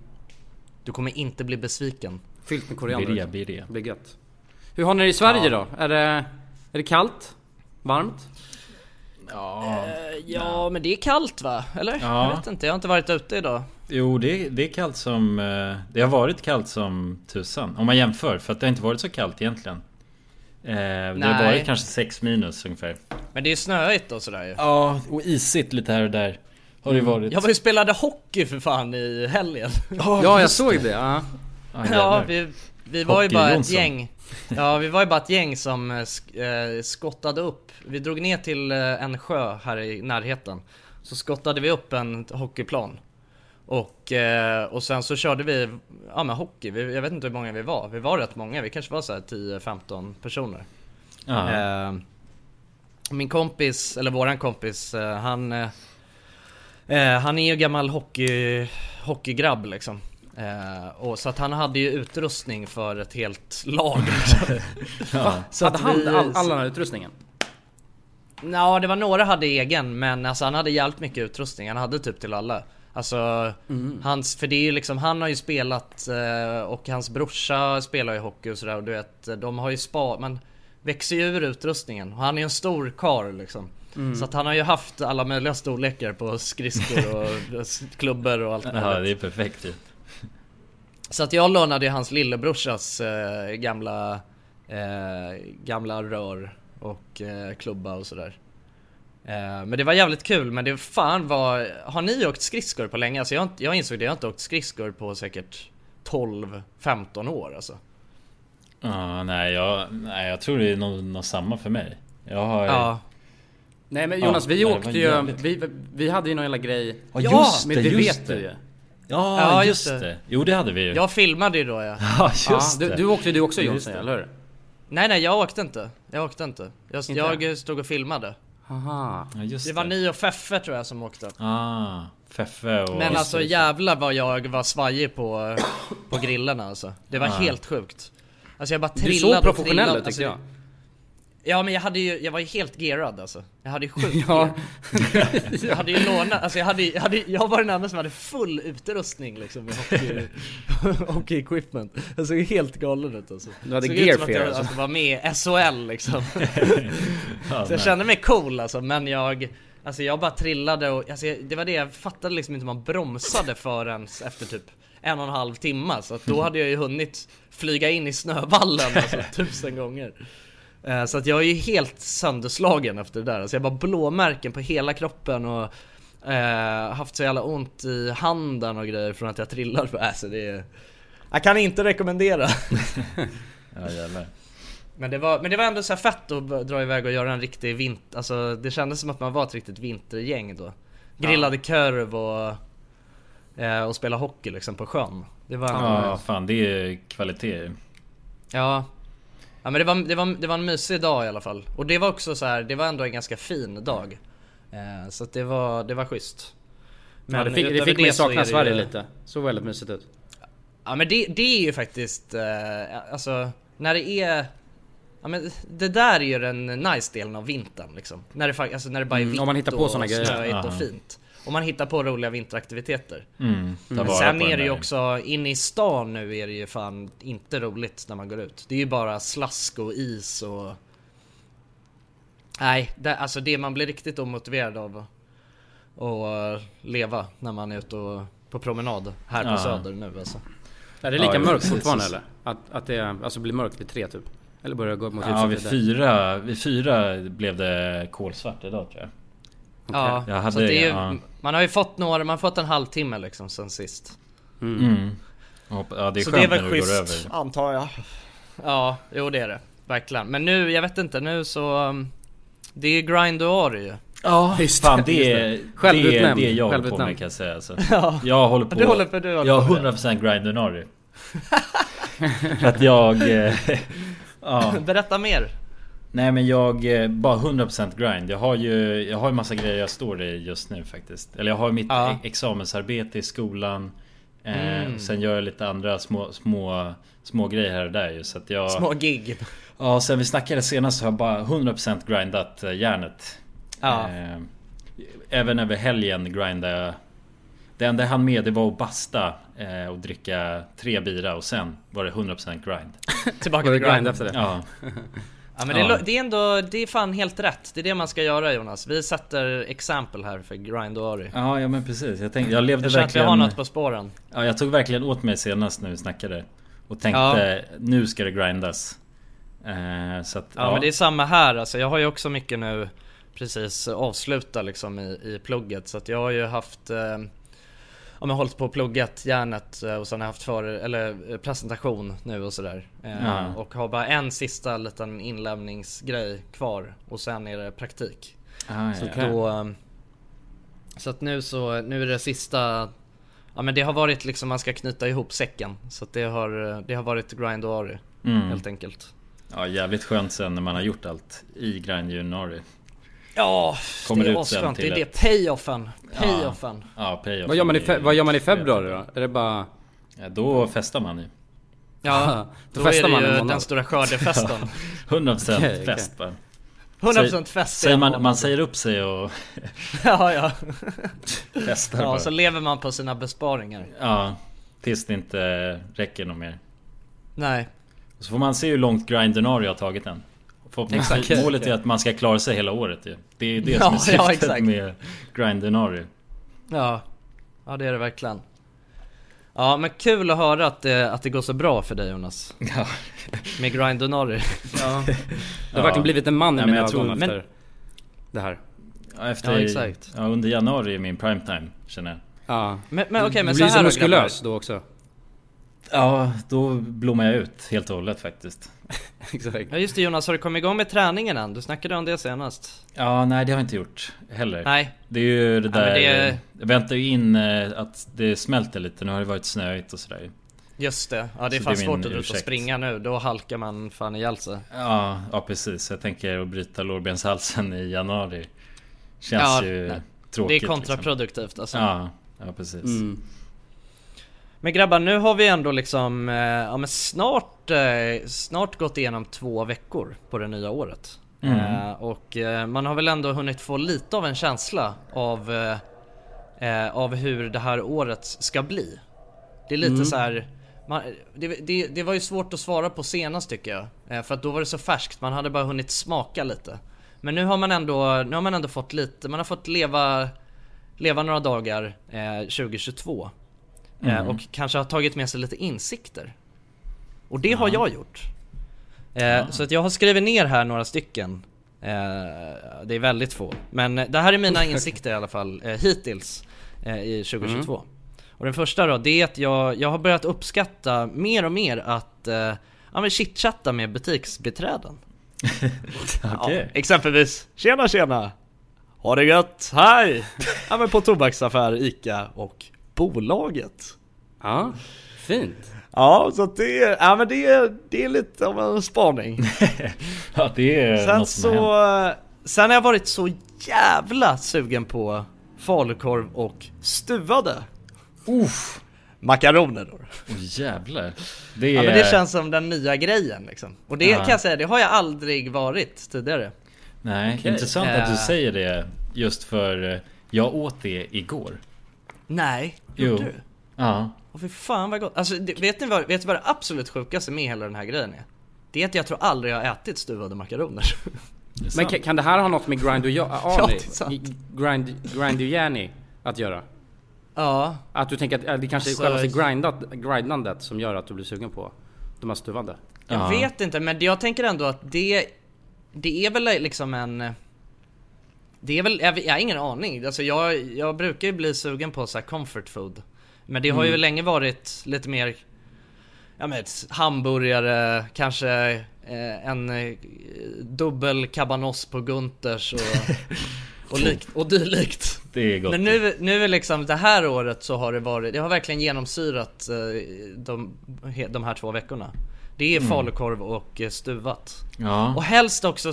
Speaker 2: Du kommer inte bli besviken.
Speaker 1: Fyllt med koriander.
Speaker 3: Birria, birria.
Speaker 1: Det blir gött. Hur har ni det i Sverige då? Är det, är det kallt? Varmt?
Speaker 3: Ja,
Speaker 2: ja, men det är kallt va? Eller?
Speaker 3: Ja.
Speaker 2: Jag vet inte, jag har inte varit ute idag.
Speaker 3: jo det, det är kallt som... eh, Det har varit kallt som tusan. Om man jämför, för att det har inte varit så kallt egentligen. Eh, Det har
Speaker 2: Nej.
Speaker 3: varit kanske 6 minus ungefär.
Speaker 2: Men det är ju snöigt och sådär ju.
Speaker 3: Ja, och isigt lite här och där. Har
Speaker 1: Mm.
Speaker 3: det varit.
Speaker 2: Jag var ju spelade hockey för fan i helgen.
Speaker 1: ja, jag såg det. Ja.
Speaker 3: Ja,
Speaker 2: ja,
Speaker 3: jävlar.
Speaker 2: vi, vi var ju bara ett
Speaker 3: Hockey-Jonsson.
Speaker 2: gäng. Ja, vi var ju bara ett gäng som eh, sk- eh, skottade upp. Vi drog ner till eh, en sjö här i närheten. Så skottade vi upp en hockeyplan. Och, eh, och sen så körde vi, ja men hockey, vi, jag vet inte hur många vi var. Vi var rätt många, vi kanske var så här 10-15 personer.
Speaker 3: Ja.
Speaker 2: Eh, min kompis, eller våran kompis, eh, han... Eh, eh, han är ju gammal hockey, hockeygrabb liksom. Eh, och så att han hade ju utrustning för ett helt lag. liksom.
Speaker 3: <laughs> Ja.
Speaker 2: så
Speaker 1: Hade
Speaker 2: att
Speaker 1: han
Speaker 2: vi-
Speaker 1: all, all den här utrustningen?
Speaker 2: Ja, det var några hade egen men alltså han hade jävligt mycket utrustning. Han hade typ till alla. Alltså, hans, för det är ju liksom, han har ju spelat eh, och hans brorsa spelar ju hockey och sådär och du vet, de har ju spa, man växer ju ur utrustningen. Och han är ju en stor karl liksom. Mm. Så att han har ju haft alla möjliga storlekar på skridskor och s- klubbor och allt möjligt.
Speaker 9: Ja, det är perfekt
Speaker 5: typ.
Speaker 9: ju.
Speaker 2: Så att jag lånade ju hans lillebrorsas eh, gamla, eh, gamla rör och eh, klubba och sådär. Eh, men det var jävligt kul men det fan var... Har ni åkt skridskor på länge? Alltså jag, har inte- jag insåg det, jag har inte åkt skridskor på säkert 12-15 år alltså.
Speaker 9: Ja, nej, jag, nej, jag tror det är nog, nog samma för mig. Jag har...
Speaker 2: Ja.
Speaker 1: Nej men Jonas,
Speaker 9: Ja,
Speaker 1: vi
Speaker 9: det var
Speaker 1: åkte ju...
Speaker 9: jävligt.
Speaker 1: Vi, vi hade ju någon jävla grej...
Speaker 9: Ja, just
Speaker 1: men
Speaker 9: det,
Speaker 1: det
Speaker 9: just
Speaker 1: vet
Speaker 9: det.
Speaker 1: du ju.
Speaker 9: Ja,
Speaker 2: Ja,
Speaker 9: just,
Speaker 2: just
Speaker 9: det. Jo, det hade vi ju.
Speaker 2: Jag filmade ju då ja.
Speaker 9: Ja, just
Speaker 1: ja,
Speaker 9: det.
Speaker 1: du, du åkte ju du också
Speaker 9: Just
Speaker 1: Jonsson,
Speaker 9: det.
Speaker 1: eller hur?
Speaker 2: Nej nej jag åkte inte. Jag åkte inte. Jag,
Speaker 1: Inte?
Speaker 2: jag stod och filmade.
Speaker 1: Haha.
Speaker 9: Ja, just
Speaker 2: Det var ni och Feffe tror jag som åkte.
Speaker 9: Ah, Feffe och...
Speaker 2: Men alltså jävlar vad jag var svajig på, på grillarna alltså. Det var helt sjukt. Alltså jag bara
Speaker 1: Du
Speaker 2: trillade
Speaker 1: såg
Speaker 2: och
Speaker 1: professionell
Speaker 2: trillade,
Speaker 1: ut tyckte jag.
Speaker 2: alltså, Ja men jag hade ju, jag var ju helt gerad alltså. Jag hade ju sjukt
Speaker 1: <laughs> Ja.
Speaker 2: Jag hade ju lånat, alltså jag hade, jag hade jag var den enda som hade full utrustning liksom med
Speaker 1: <laughs>
Speaker 2: hockey, hockey equipment. Jag såg helt galen ut alltså.
Speaker 1: Du hade
Speaker 2: Såg
Speaker 1: gear
Speaker 2: ut som att
Speaker 1: fear,
Speaker 2: jag
Speaker 1: alltså.
Speaker 2: alltså, var med i
Speaker 1: <laughs>
Speaker 2: SHL liksom.
Speaker 9: Ja,
Speaker 2: Så
Speaker 9: nej.
Speaker 2: jag kände mig cool alltså, men jag Alltså jag bara trillade och, alltså, jag- det var det jag fattade liksom inte hur man bromsade förrän efter typ en och en halv timme så att då hade jag ju hunnit flyga in i snövallen
Speaker 1: <laughs>
Speaker 2: alltså tusen gånger. Eh, Så att jag är ju helt sönderslagen efter det där. Alltså jag har bara blåmärken på hela kroppen och eh, haft så jävla ont i handen och grejer från att jag trillade. <laughs> Alltså det är... Jag kan inte rekommendera.
Speaker 9: Ja, jävlar.
Speaker 2: Men det var, men det var ändå så här fett att b- dra iväg och göra en riktig vinter, alltså det kändes som att man var ett riktigt vintergäng då. Grillade korv och, eh, och spela hockey liksom på sjön. Det var ändå,
Speaker 9: Ja,
Speaker 2: ja.
Speaker 9: fan det är kvalitet
Speaker 2: ja. men det var, det, var, det var en mysig dag i alla fall. Och det var också så här, det var ändå en ganska fin dag. Eh, så att det var, det var schysst.
Speaker 1: ja, det fick, det
Speaker 2: utöver
Speaker 1: fick mig
Speaker 2: så är
Speaker 1: sakna
Speaker 2: det
Speaker 1: Sverige
Speaker 2: ju-
Speaker 1: lite. Såg väldigt mysigt ut.
Speaker 2: Ja men det, det är ju faktiskt, eh, alltså när det är Ja men det där är ju den nice delen av vintern liksom. När det, fak- alltså, när det bara är
Speaker 1: Mm,
Speaker 2: vitt
Speaker 1: om man hittar på
Speaker 2: och
Speaker 1: såna grejer.
Speaker 2: snöigt och
Speaker 9: Aha.
Speaker 2: fint. Om man hittar på roliga vinteraktiviteter.
Speaker 9: Mm, ta
Speaker 2: Men
Speaker 9: vara
Speaker 2: sen
Speaker 9: på den
Speaker 2: är det ju
Speaker 9: där.
Speaker 2: också, inne i stan nu är det ju fan inte roligt när man går ut. Det är ju bara slask och is och... Nej, det, alltså det man blir riktigt omotiverad av att leva när man är ute och, på promenad här på
Speaker 9: Ja.
Speaker 2: Söder nu alltså.
Speaker 1: Är det lika
Speaker 9: Ja,
Speaker 1: mörkt
Speaker 9: precis.
Speaker 1: fortfarande eller? Att, att det alltså, blir mörkt vid tre typ? Eller börjar det gå mot
Speaker 9: Ja,
Speaker 1: ljuset
Speaker 9: vid
Speaker 1: där?
Speaker 9: fyra, vid fyra blev det kolsvart idag tror jag
Speaker 2: Ja,
Speaker 9: Jag hade-
Speaker 2: så att det är ju,
Speaker 9: ja.
Speaker 2: man har ju fått några, man har fått en halvtimme liksom sen sist.
Speaker 9: mm. Jag hopp- Ja, det är
Speaker 2: så
Speaker 9: skönt
Speaker 2: det är väl
Speaker 9: när det går
Speaker 2: schysst,
Speaker 9: över
Speaker 2: antar jag. Ja, jo det är det. Verkligen. Men nu, jag vet inte, nu så... um, Det är ju grinduari ju.
Speaker 9: Ja,
Speaker 1: just
Speaker 9: fan
Speaker 1: det, just
Speaker 9: det är det, är-
Speaker 1: Självutnämnd,
Speaker 9: det är jag håller på
Speaker 1: självutnämnd.
Speaker 9: med kan jag säga alltså. Jag håller på,
Speaker 2: Du håller på- du håller
Speaker 9: Jag
Speaker 2: på
Speaker 9: är
Speaker 2: med
Speaker 9: 100% grindunari <laughs> För att jag... eh, ja.
Speaker 2: <laughs> Berätta mer.
Speaker 9: Nej men jag, eh, bara 100% grind. Jag har ju, jag har ju massa grejer jag står i just nu faktiskt. Eller jag har mitt
Speaker 2: Ja. Mm.
Speaker 9: e- examensarbete i skolan. Eh, Sen gör jag lite andra små, små, små grejer här och där ju. Så att jag...
Speaker 2: Små gig.
Speaker 9: Ja, sen vi snackade senast så har jag bara 100% grindat eh, järnet.
Speaker 2: Ja.
Speaker 9: Eh, även över helgen grindade jag. Det enda jag hann med det var att basta eh, och dricka tre bira och sen var det 100% grind.
Speaker 2: Tillbaka
Speaker 1: Var det
Speaker 2: till
Speaker 1: grind
Speaker 2: grind.
Speaker 1: efter det?
Speaker 9: Ja.
Speaker 2: Ja men det,
Speaker 9: Ja.
Speaker 2: lo- det är ändå, det är fan helt rätt. Det är det man ska göra Jonas. Vi sätter exempel här för grinduari.
Speaker 9: Ja, ja men precis. Jag, tänkte, jag levde
Speaker 2: Jag känner att vi
Speaker 9: verkligen...
Speaker 2: har något på spåren.
Speaker 9: Ja, jag tog verkligen åt mig senast när vi snackade. Och tänkte nu ska det grindas. Eh, så att,
Speaker 2: Ja, men det är samma här alltså. Jag har ju också mycket nu precis avslutat liksom i, i plugget så att jag har ju haft eh, Ja men hållit på och pluggat hjärnet eh, och sen har jag haft för, eller eh, presentation nu och sådär. Eh,
Speaker 9: Ja.
Speaker 2: Och har bara en sista liten inlämningsgrej kvar och sen är det praktik.
Speaker 9: Ah,
Speaker 2: Så,
Speaker 9: ja,
Speaker 2: att då, eh, så att nu så, nu är det sista Ja men det har varit liksom man ska knyta ihop säcken. Så att det har, eh, det har varit grinduari
Speaker 9: Mm.
Speaker 2: helt enkelt.
Speaker 9: ja, jävligt skönt sen när man har gjort allt i grind januari.
Speaker 2: Ja,
Speaker 9: Kommer
Speaker 2: det
Speaker 9: ut
Speaker 2: är
Speaker 9: sen
Speaker 2: asskönt. Det
Speaker 9: till
Speaker 2: är det
Speaker 9: ett-
Speaker 2: payoffen. Payoffen.
Speaker 9: Ja, payoff.
Speaker 1: Vad gör man i, fe- vad gör man i
Speaker 9: är-
Speaker 1: februari då? Är det bara...
Speaker 9: Ja, då festar man ju.
Speaker 2: Ja.
Speaker 1: då
Speaker 2: Då, är
Speaker 1: festar man
Speaker 2: det
Speaker 1: en
Speaker 2: ju
Speaker 1: månad.
Speaker 2: den stora skördefesten.
Speaker 9: 100%
Speaker 1: Okej,
Speaker 9: fest bara.
Speaker 2: 100% fest i
Speaker 9: Säger
Speaker 2: en
Speaker 9: man,
Speaker 2: månad.
Speaker 9: man säger upp
Speaker 1: <laughs>
Speaker 9: sig och
Speaker 2: <laughs> Ja, ja.
Speaker 9: festar
Speaker 2: ja
Speaker 9: bara.
Speaker 2: så lever man på sina besparingar.
Speaker 9: Ja, tills det inte räcker något mer.
Speaker 2: Nej.
Speaker 9: Så får man se hur långt grind januari har tagit en.
Speaker 5: Förhoppningsvis,
Speaker 1: Exakt.
Speaker 5: målet är att man ska klara sig hela året ju. Det är det
Speaker 2: Ja,
Speaker 5: som är
Speaker 2: ja,
Speaker 5: syftet
Speaker 2: exakt.
Speaker 5: med Grindinari.
Speaker 2: Ja, ja det är det verkligen. Ja men kul att höra att det, att det går så bra för dig Jonas.
Speaker 5: Ja.
Speaker 2: Med Grind Donari. Ja.
Speaker 1: Du har verkligen blivit en man i
Speaker 5: Ja, men
Speaker 1: mina
Speaker 5: jag tror-
Speaker 1: ögon efter
Speaker 5: men-
Speaker 1: det här.
Speaker 5: Ja, efter,
Speaker 2: Ja, exakt.
Speaker 5: ja, under januari är min primetime känner jag.
Speaker 1: Ja.
Speaker 2: <laughs> Men, men okej men
Speaker 1: du
Speaker 2: så
Speaker 1: blir
Speaker 2: här
Speaker 1: så
Speaker 2: då,
Speaker 1: muskulös
Speaker 2: grabbar.
Speaker 1: då också.
Speaker 5: Ja, då blommar jag ut helt och hållet faktiskt.
Speaker 1: Exakt.
Speaker 2: Ja just det Jonas, har du kommit igång med träningen än? Du snackade om det senast.
Speaker 5: Ja, nej det har jag inte gjort heller.
Speaker 2: Nej.
Speaker 5: Det är ju det
Speaker 2: Ja, men
Speaker 5: där...
Speaker 2: det-
Speaker 5: Jag väntar ju in eh, att det smälter lite. Nu har det varit snöigt och sådär.
Speaker 2: Just det, ja det är
Speaker 5: Så
Speaker 2: fan
Speaker 5: det är min
Speaker 2: svårt att ut och
Speaker 5: ursäkt.
Speaker 2: springa nu. Då halkar man fan ihjäl sig.
Speaker 5: Ja, ja precis. Jag tänker att bryta lårbenshalsen i januari. Känns
Speaker 2: Ja,
Speaker 5: ju
Speaker 2: nej.
Speaker 5: tråkigt.
Speaker 2: det är
Speaker 9: liksom.
Speaker 2: kontraproduktivt alltså.
Speaker 5: Liksom. Ja, ja precis.
Speaker 1: Mm.
Speaker 2: Men grabbar, nu har vi ändå liksom, eh, ja men snart, eh, snart gått igenom två veckor på det nya året.
Speaker 5: Mm.
Speaker 2: Eh, och eh, man har väl ändå hunnit få lite av en känsla av, eh, eh, av hur det här året ska bli. Det är lite så här. Man, det, det, det var ju svårt att svara på senast tycker jag. Eh, för att då var det så färskt, man hade bara hunnit smaka lite. Men nu har man ändå, nu har man ändå fått lite, man har fått leva, leva några dagar eh, 2022. Eh, Och kanske har tagit med sig lite insikter. Och det har jag gjort. Eh, Så att jag har skrivit ner här några stycken. Eh, det är väldigt få. Men eh, det här är mina insikter i alla fall eh, hittills eh, i 2022. Och den första då, det är att jag, jag har börjat uppskatta mer och mer att eh, ja, men chitchatta med butiksbiträden.
Speaker 5: Okej.
Speaker 2: Ja, exempelvis, tjena tjena! Ha det gött, hej! Ja men på tobaksaffär, ICA och bolaget.
Speaker 1: Ja, fint.
Speaker 2: Ja, så att det, ja, men det, det är lite av en
Speaker 5: <laughs>
Speaker 2: spaning.
Speaker 5: Ja, det är
Speaker 2: Sen
Speaker 5: något som
Speaker 2: så...
Speaker 5: har hänt.
Speaker 2: Sen har jag varit så jävla sugen på falukorv och stuvade. Uff. Makaroner då.
Speaker 5: Åh jävlar. Det är...
Speaker 2: Ja men det känns som den nya grejen liksom. Och det
Speaker 5: Ja.
Speaker 2: kan jag säga, det har jag aldrig varit tidigare.
Speaker 5: Nej, intressant att du
Speaker 2: Eh.
Speaker 5: säger det. Just för eh, jag åt det igår.
Speaker 2: Nej,
Speaker 5: Jo.
Speaker 2: gjorde du?
Speaker 5: Ja.
Speaker 2: Åh fy fan vad gott. Alltså det, vet, ni vad, vet ni vad det absolut sjukaste med hela den här grejen är? Det är att jag tror aldrig jag har ätit stuvade makaroner. <laughs>
Speaker 5: det är
Speaker 1: Men
Speaker 5: sant.
Speaker 1: kan, kan det här ha något med Grind och
Speaker 2: Ja,
Speaker 1: Jani?
Speaker 2: det är sant.
Speaker 1: grind, grind och Jani att göra?
Speaker 2: ja,
Speaker 1: Att du tänker att eh, det kanske är
Speaker 2: Alltså-
Speaker 1: självaste grindat, grindandet som gör att du blir sugen på de här stuvande?
Speaker 2: Jag
Speaker 5: Ja.
Speaker 2: vet inte, men jag tänker ändå att det... Det är väl liksom en... Det är väl, jag, vet- jag har ingen aning. Alltså jag, jag brukar ju bli sugen på så här comfort food. Men det har ju länge varit lite mer... Jag vet, hamburgare, kanske eh, en eh, dubbel cabanos på Gunters och, och, likt, och dylikt.
Speaker 5: Det är gott.
Speaker 2: Men nu, nu är liksom det här året så har det varit, det har verkligen genomsyrat eh, de, he- de här två veckorna. Det är falukorv och eh, stuvat.
Speaker 5: Mm. Ja.
Speaker 2: Och helst också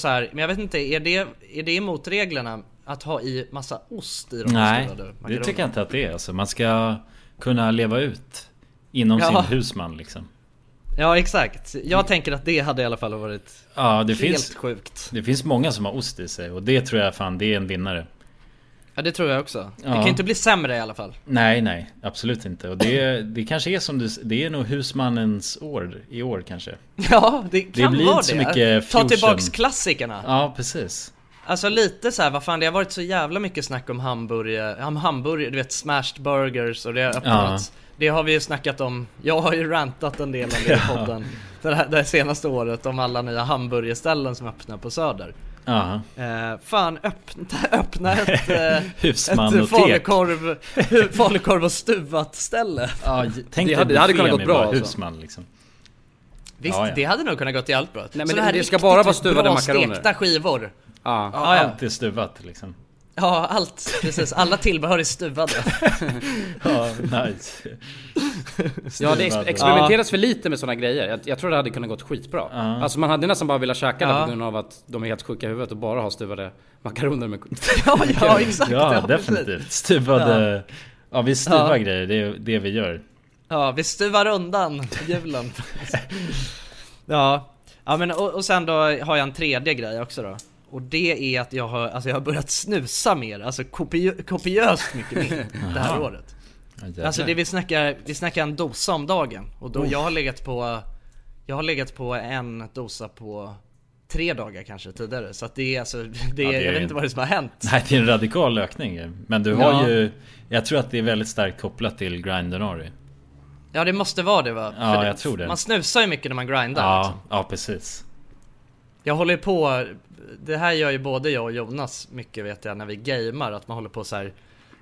Speaker 2: så här, men jag vet inte, är det, är det emot reglerna att ha i massa ost i de
Speaker 5: Nej,
Speaker 2: stuvade
Speaker 5: det
Speaker 2: makaronerna?
Speaker 5: tycker jag inte att det är. Alltså, man ska kunna leva ut inom
Speaker 2: Ja.
Speaker 5: sin husman liksom.
Speaker 2: Ja exakt, jag tänker att det hade i alla fall varit
Speaker 5: Ja, det
Speaker 2: helt
Speaker 5: finns,
Speaker 2: sjukt.
Speaker 5: det finns många som har ost i sig och det tror jag fan, det är en vinnare.
Speaker 2: Ja det tror jag också. Det
Speaker 5: Ja.
Speaker 2: kan ju inte bli sämre i alla fall. <laughs>
Speaker 5: Nej, nej, absolut inte. Och det, det kanske är som du det är nog husmannens år i år kanske.
Speaker 2: Ja, det kan
Speaker 5: blir
Speaker 2: vara
Speaker 5: inte så
Speaker 2: det.
Speaker 5: mycket
Speaker 2: Ta tillbaks
Speaker 5: fusion.
Speaker 2: klassikerna.
Speaker 5: Ja, precis.
Speaker 2: Alltså lite så här, vad fan det har varit så jävla mycket snack om hamburgare, om hamburgare, du vet smashed burgers och det har öppnats. Det har vi ju snackat om, jag har ju rantat en del om
Speaker 5: <laughs>
Speaker 2: det i podden det, här, det här senaste året om alla nya hamburgerställen som öppnar på söder.
Speaker 5: Ja,
Speaker 2: Eh, fan öppna, <laughs> öppna ett, eh, ett
Speaker 5: <laughs>
Speaker 2: <laughs>
Speaker 5: Husmanotek.
Speaker 2: falukorv, hu- falukorv och stuvat ställe.
Speaker 5: ja tänk
Speaker 1: Det
Speaker 5: dig
Speaker 1: hade- det hade
Speaker 5: buffé
Speaker 1: kunnat gått
Speaker 5: med
Speaker 1: bra,
Speaker 5: bara
Speaker 1: alltså.
Speaker 5: husman liksom.
Speaker 2: Visst,
Speaker 5: Ja, ja.
Speaker 2: det hade nog kunnat gått jävligt bra. Nej,
Speaker 1: men det- det ska bara vara stuvade makaroner.
Speaker 2: stekta skivor.
Speaker 1: Ja.
Speaker 5: Ja,
Speaker 2: ja.
Speaker 5: Allt är stuvat liksom.
Speaker 2: Ja, allt. Precis. Alla tillbehör är stuvade.
Speaker 3: Ja, nice.
Speaker 1: Ja, det ex- experimenteras för lite med sådana grejer. Jag, jag tror det hade kunnat gått skitbra. Alltså man hade nästan bara velat käka det
Speaker 2: Ja.
Speaker 1: på grund av att de är helt sjuka i huvudet och bara har stuvade makaroner med
Speaker 2: ja, ja, exakt.
Speaker 3: Ja,
Speaker 2: precis.
Speaker 3: definitivt. Stuvade... Ja, vi stuvar
Speaker 2: Ja.
Speaker 3: grejer. Det är det vi gör.
Speaker 2: Ja, vi stuvar undan julen. ja. ja, men och, och sen då har jag en tredje grej också då. Och det är att jag har, alltså jag har börjat snusa mer, alltså kopio- kopiöst
Speaker 3: <laughs>
Speaker 2: mycket mer det här
Speaker 3: Jaha.
Speaker 2: året.
Speaker 3: Ja, jävlar.
Speaker 2: Alltså det vi snackar, vi snackar en dosa om dagen. Och då jag har legat på, jag har legat på en dosa på tre dagar kanske tidigare. Så att det är alltså, det är,
Speaker 3: det är
Speaker 2: jag
Speaker 3: ju
Speaker 2: vet
Speaker 3: en-
Speaker 2: inte vad det är som har hänt.
Speaker 3: Nej, det är en radikal ökning. Men du har
Speaker 2: Ja.
Speaker 3: ju... Jag tror att det är väldigt starkt kopplat till Grind Januari.
Speaker 2: Ja det måste vara det va?
Speaker 3: Ja,
Speaker 2: det,
Speaker 3: jag tror det.
Speaker 2: Man snusar ju mycket när man grindar.
Speaker 3: Ja, ja, precis.
Speaker 2: Jag håller på, det här gör ju både jag och Jonas mycket vet jag när vi gamear att man håller på så här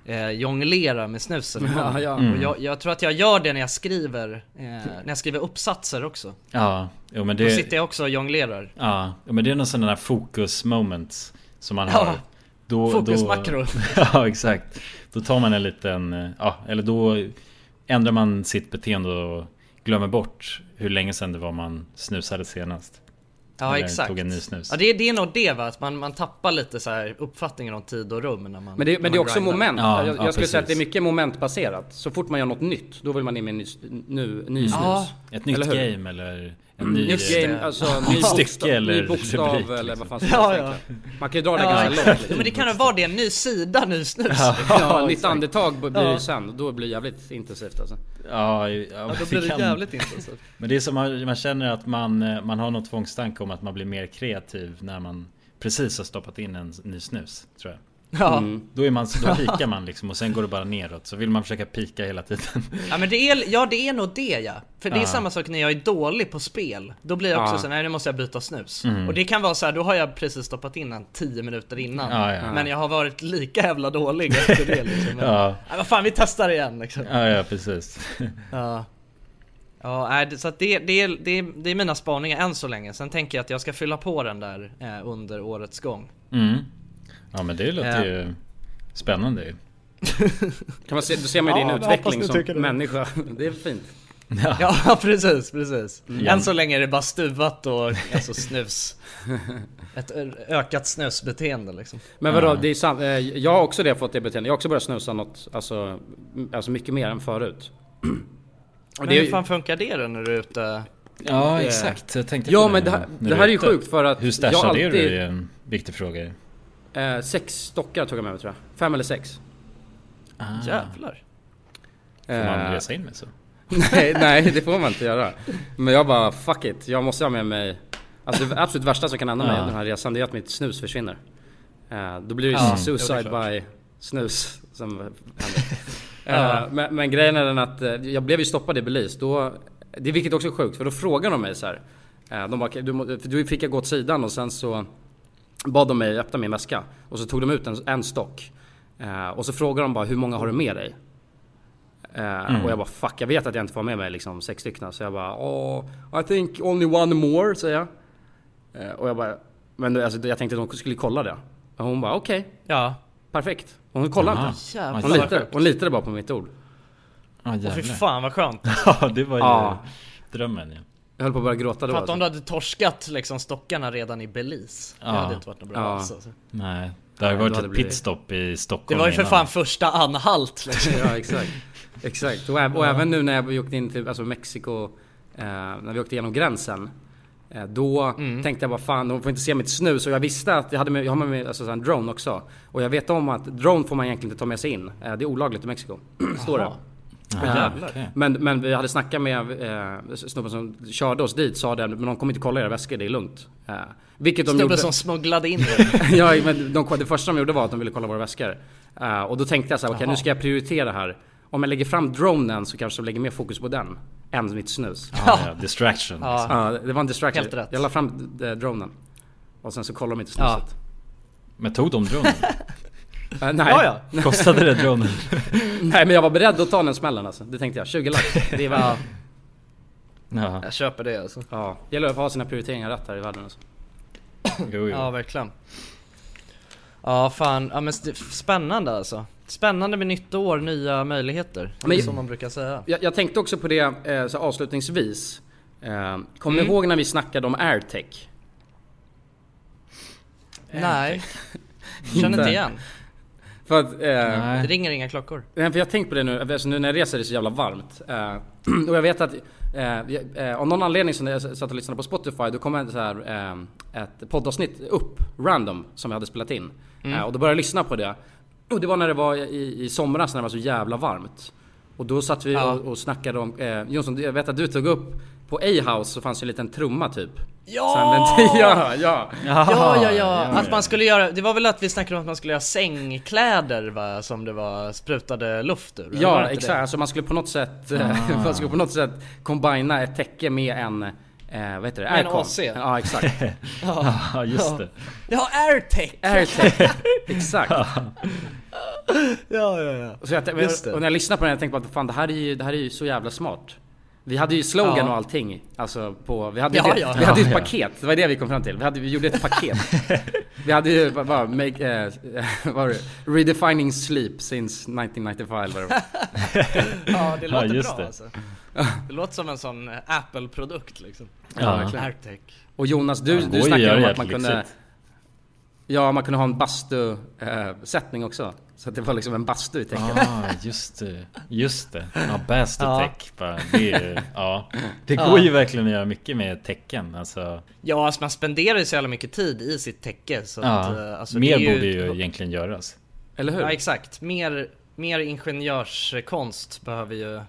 Speaker 2: eh, jonglera med snusen. i
Speaker 1: <laughs> Ja,
Speaker 2: munnen.
Speaker 1: ja.
Speaker 2: Och
Speaker 3: Mm.
Speaker 2: jag, jag tror att jag gör det när jag skriver, eh, när jag skriver uppsatser också.
Speaker 3: Ja, jo, men
Speaker 2: Då
Speaker 3: det...
Speaker 2: sitter jag också och jonglerar.
Speaker 3: Ja, ja, men det är någon sån här fokus moments som man
Speaker 2: Ja.
Speaker 3: har. Då,
Speaker 2: Fokusmakro.
Speaker 3: <laughs> Då, ja, exakt. Då tar man en liten, eh, ja, eller då ändrar man sitt beteende och glömmer bort hur länge sedan det var man snusade senast.
Speaker 2: Ja
Speaker 3: Eller
Speaker 2: exakt.
Speaker 3: tog en ny snus.
Speaker 2: Ja, det, är- det är nog det va, att man, man tappar lite så här uppfattningen om tid och rum när man
Speaker 1: Men det,
Speaker 2: när
Speaker 1: men det är
Speaker 2: man
Speaker 1: också
Speaker 2: grindar.
Speaker 1: moment.
Speaker 3: Ja,
Speaker 1: jag jag
Speaker 3: ja,
Speaker 1: skulle säga att det är
Speaker 3: precis.
Speaker 1: mycket momentbaserat. Så fort man gör något nytt, då vill man in med en ny, s- nu, ny snus.
Speaker 2: Ja.
Speaker 3: Ett nytt
Speaker 1: Eller hur?
Speaker 3: game eller en ny...
Speaker 1: Nytt
Speaker 3: eh,
Speaker 1: game, alltså ny
Speaker 3: Nytt
Speaker 1: bokstav,
Speaker 3: stycke eller
Speaker 1: ny bokstav
Speaker 3: rubrik,
Speaker 1: eller
Speaker 3: liksom.
Speaker 1: vad fan som
Speaker 2: Ja,
Speaker 1: helst
Speaker 2: ja.
Speaker 1: egentligen. Man kan ju dra det
Speaker 2: Ja,
Speaker 1: ganska långt. liksom.
Speaker 2: Jo, men det kan ju vara det, en ny sida, ny snus.
Speaker 3: Ja,
Speaker 1: Ja, nytt
Speaker 3: exakt.
Speaker 1: andetag b- blir
Speaker 2: Ja.
Speaker 1: ju sen. Då blir det jävligt intensivt alltså.
Speaker 3: Ja, ja,
Speaker 2: Ja, då
Speaker 3: det
Speaker 2: blir det
Speaker 3: kan-
Speaker 2: jävligt intressant.
Speaker 3: Men det är som man, man känner att man, eh, man har någon tvångstanke om att man blir mer kreativ när man precis har stoppat in en s- ny snus, tror jag.
Speaker 2: Ja.
Speaker 3: Då, är man, då pikar man liksom och sen går det bara neråt. Så vill man försöka pika hela tiden.
Speaker 2: <laughs> Ja men det är, ja, det är nog det ja. För det är
Speaker 3: Ja.
Speaker 2: samma sak när jag är dålig på spel. Då blir jag också
Speaker 1: Ja.
Speaker 2: så här, nej nu måste jag byta snus.
Speaker 3: Mm.
Speaker 2: Och det kan vara så här, då har jag precis stoppat in den 10 minuter innan.
Speaker 3: Ja, ja.
Speaker 2: Men jag har varit lika jävla dålig efter det liksom. Men, ja.
Speaker 3: <laughs> Ja,
Speaker 2: vad fan vi testar igen liksom.
Speaker 3: ja, ja precis.
Speaker 2: Ja. Ja, nej, det- så att det, det, är- det, är- det är mina spaningar än så länge. Sen tänker jag att jag ska fylla på den där eh, under årets gång.
Speaker 3: Mm. Ja, men det
Speaker 2: Ja.
Speaker 3: låter ju spännande ju.
Speaker 1: Kan man se, då ser man ju din
Speaker 2: Ja, jag hoppas
Speaker 1: utveckling
Speaker 2: ni
Speaker 1: som
Speaker 2: tycker det.
Speaker 1: människa. <laughs> Det är fint.
Speaker 2: <laughs> Ja precis, precis.
Speaker 3: Ja.
Speaker 2: Än så länge är det bara stuvat och alltså, snus. <laughs> Ett ö- ökat snusbeteende liksom.
Speaker 1: Men vadå, det är sant. Eh, Jag har också det, fått det beteendet. Jag har också börjat snusa något, alltså, m- alltså mycket mer än förut. <clears throat> Och
Speaker 2: Men
Speaker 1: det är
Speaker 2: hur
Speaker 1: ju- Ah.
Speaker 2: fan funkar det då när du är ute?
Speaker 3: Ja, exakt. Jag tänkte
Speaker 1: Ja
Speaker 3: på
Speaker 1: men det
Speaker 3: nu
Speaker 1: här,
Speaker 3: när
Speaker 1: det
Speaker 3: du
Speaker 1: här är ju
Speaker 3: ute.
Speaker 1: sjukt för att
Speaker 3: Hur
Speaker 1: jag
Speaker 3: stashade är
Speaker 1: alltid-
Speaker 3: du? är en viktig fråga ju.
Speaker 1: Eh, sex stockar tog jag med mig tror jag. Fem eller sex.
Speaker 3: Ah,
Speaker 2: Jävlar.
Speaker 3: Får man
Speaker 1: Eh,
Speaker 3: resa in med så?
Speaker 1: nej, nej, det får man inte göra. Men jag bara fuck it. Jag måste ha med mig... Alltså det absolut värsta som kan hända mig
Speaker 3: Ja.
Speaker 1: under den här resan det är att mitt snus försvinner. Eh, då blir det ju
Speaker 2: Ja,
Speaker 1: suicide
Speaker 2: jo, det är
Speaker 1: by snus som
Speaker 2: <laughs>
Speaker 1: händer. Eh, men, men grejen är den att eh, jag blev ju stoppad i Belize. Då, det är vilket också är sjukt för då frågar de mig så här. eh, de bara, du, må- för då fick jag gå åt sidan och sen så bad de mig öppna min väska. Och så tog de ut en, en stock. Eh, och så frågade de bara hur många har du med dig? Eh, Och jag bara fuck, jag vet att jag inte får med mig liksom sex stycken. Så jag bara oh, I think only one more, säger jag. Eh, och jag bara, men du, alltså, jag tänkte att de skulle kolla det. Och hon bara okej,
Speaker 2: Ja.
Speaker 1: perfekt. Hon kollade
Speaker 3: Jaha.
Speaker 1: inte.
Speaker 2: Jävlar.
Speaker 1: Hon litade, hon litade bara på mitt ord.
Speaker 3: Ah,
Speaker 2: Åh fy
Speaker 3: jävlar.
Speaker 2: fan vad skönt.
Speaker 3: Ja, det var ju
Speaker 1: Ja.
Speaker 3: drömmen ja.
Speaker 1: Jag höll på att börja gråta då.
Speaker 2: Fatta om
Speaker 1: Alltså.
Speaker 2: du hade torskat liksom stockarna redan i Belize. Det
Speaker 3: Ja.
Speaker 2: hade inte varit något bra
Speaker 1: Ja.
Speaker 2: alls alltså.
Speaker 3: Nej, det har ju
Speaker 1: Nej,
Speaker 3: varit
Speaker 1: då hade
Speaker 3: ett
Speaker 1: det blivit-
Speaker 3: pitstop i
Speaker 2: Det
Speaker 3: Stockholm
Speaker 2: var ju för
Speaker 3: innan.
Speaker 2: fan första anhalt liksom.
Speaker 1: <laughs> ja exakt. Exakt. Och, äv- och även nu när vi åkte in till alltså Mexiko, eh, när vi åkte igenom gränsen. Eh, då
Speaker 2: Mm.
Speaker 1: tänkte jag bara fan, de får inte se mitt snus. Och jag visste att jag hade med, jag har med mig alltså, så här en drone också. Och jag vet om att drone får man egentligen inte ta med sig in. Eh, det är olagligt i Mexiko. <clears throat> Står det. Eh,
Speaker 3: Ja, okej.
Speaker 1: Men, men vi hade snackat med eh, snubben som körde oss dit sa det, men de kommer inte kolla era väskor, det är lugnt. Eh, vilket de
Speaker 2: Snubben
Speaker 1: gjorde.
Speaker 2: som
Speaker 1: <laughs>
Speaker 2: smugglade in det.
Speaker 1: ja, men de, det första de gjorde var att de ville kolla våra väskor. Eh, och då tänkte jag så här, okej nu ska jag prioritera här. Om jag lägger fram dronen så kanske de lägger mer fokus på den än mitt snus.
Speaker 3: Ja, ja, distraction.
Speaker 2: Ja.
Speaker 3: Liksom.
Speaker 1: Ja, det var en distraction.
Speaker 2: Helt rätt.
Speaker 1: Jag la fram eh, dronen. Och sen så kollade de inte snuset.
Speaker 3: Men tog de dronen?
Speaker 1: <laughs> Eh, nej.
Speaker 2: Ja, ja.
Speaker 3: Kostade det dronen?
Speaker 1: <laughs> nej, men jag var beredd att ta den smällen alltså. Det tänkte jag. 20
Speaker 3: <laughs>
Speaker 1: lax. Det är väl... ja.
Speaker 3: Ja,
Speaker 2: Jag köper det alltså.
Speaker 1: gäller att ha sina prioriteringar rätt här i världen alltså.
Speaker 3: jo, jo.
Speaker 2: Ja verkligen. Ja fan, ja, men st- spännande alltså. Spännande med nytt år, nya möjligheter.
Speaker 1: Men-
Speaker 2: som man brukar säga.
Speaker 1: Jag, jag tänkte också på det eh, så avslutningsvis. Eh, kommer
Speaker 2: Mm.
Speaker 1: ni ihåg när vi snackade om airtech?
Speaker 2: Eh, Nej. <laughs> Känner inte igen.
Speaker 1: För att, eh,
Speaker 2: Det ringer inga klockor.
Speaker 1: Nej, för jag har tänkt på det nu, alltså nu när jag reser är det så jävla varmt. Eh, <clears throat> och jag vet att eh, jag- eh, av någon anledning så när jag s- satt och lyssnade på Spotify då kom en så här, eh, ett poddavsnitt upp, random, som jag hade spelat in.
Speaker 11: Mm.
Speaker 1: Eh, och då började jag lyssna på det. Och det var när det var i, i somras när det var så jävla varmt. Och då satt vi
Speaker 2: Ja.
Speaker 1: och, och snackade om, eh, Jonsson jag vet att du tog upp på A-house så fanns ju en liten trumma typ.
Speaker 2: Ja!
Speaker 1: Så använde- <laughs> ja, ja!
Speaker 2: Ja, ja, ja, Att man skulle göra, det var väl att vi snackade om att man skulle göra sängkläder va, som det var sprutade luft ur? eller var det
Speaker 1: Ja
Speaker 2: Ah. inte
Speaker 1: exakt, alltså man skulle på något sätt, <laughs> eh, man skulle på något sätt combina ett täcke med en, eh, vad heter det?
Speaker 2: Med en
Speaker 1: Aircon.
Speaker 2: AC.
Speaker 1: Ja
Speaker 2: <laughs>
Speaker 1: exakt.
Speaker 2: Ja.
Speaker 3: Ja, just det.
Speaker 2: Ja, airtech!
Speaker 1: Airtech, exakt.
Speaker 2: Ja, ja, ja.
Speaker 1: Så jag,
Speaker 2: Just det.
Speaker 1: och när jag lyssnade på den jag tänkte bara fan det här är ju, det här är ju så jävla smart. Vi hade ju slogan
Speaker 2: Ja.
Speaker 1: och allting. Alltså på, vi hade ju
Speaker 2: Ja,
Speaker 1: det,
Speaker 2: ja,
Speaker 1: vi
Speaker 2: ja.
Speaker 1: hade ju
Speaker 2: Ja,
Speaker 1: ett
Speaker 2: ja.
Speaker 1: paket, det var det vi kom fram till. Vi, hade, vi gjorde ett
Speaker 2: <laughs>
Speaker 1: paket. vi hade ju bara- bara make, eh, <laughs> vad var det? Redefining sleep since 1995 eller vad det var.
Speaker 2: Ja, det låter bra alltså. Det låter som en sån eh, Apple-produkt liksom.
Speaker 1: Ja, verkligen.
Speaker 2: Airtech.
Speaker 1: Och Jonas, du,
Speaker 3: Ja, det
Speaker 1: du
Speaker 3: går ju
Speaker 1: snackade
Speaker 3: att
Speaker 1: om
Speaker 3: göra
Speaker 1: att man
Speaker 3: jävligt
Speaker 1: kunde...
Speaker 3: lyxigt.
Speaker 1: Ja, man kunde ha en bastu-sättning också. Så att det var liksom en bastu i täcket.
Speaker 3: Ah, just det. Just det. Ja, bäst
Speaker 1: Ja.
Speaker 3: tech. bara. Det, är ju- ja. det går
Speaker 2: Ja.
Speaker 3: ju verkligen att göra mycket med tecken. Alltså,
Speaker 2: Ja, alltså man spenderar ju så jävla mycket tid i sitt täcke så att,
Speaker 3: ja.
Speaker 2: eh, alltså,
Speaker 3: Mer
Speaker 2: det är
Speaker 3: borde ju egentligen göras.
Speaker 2: Ja, exakt. Mer, mer ingenjörskonst behöver ju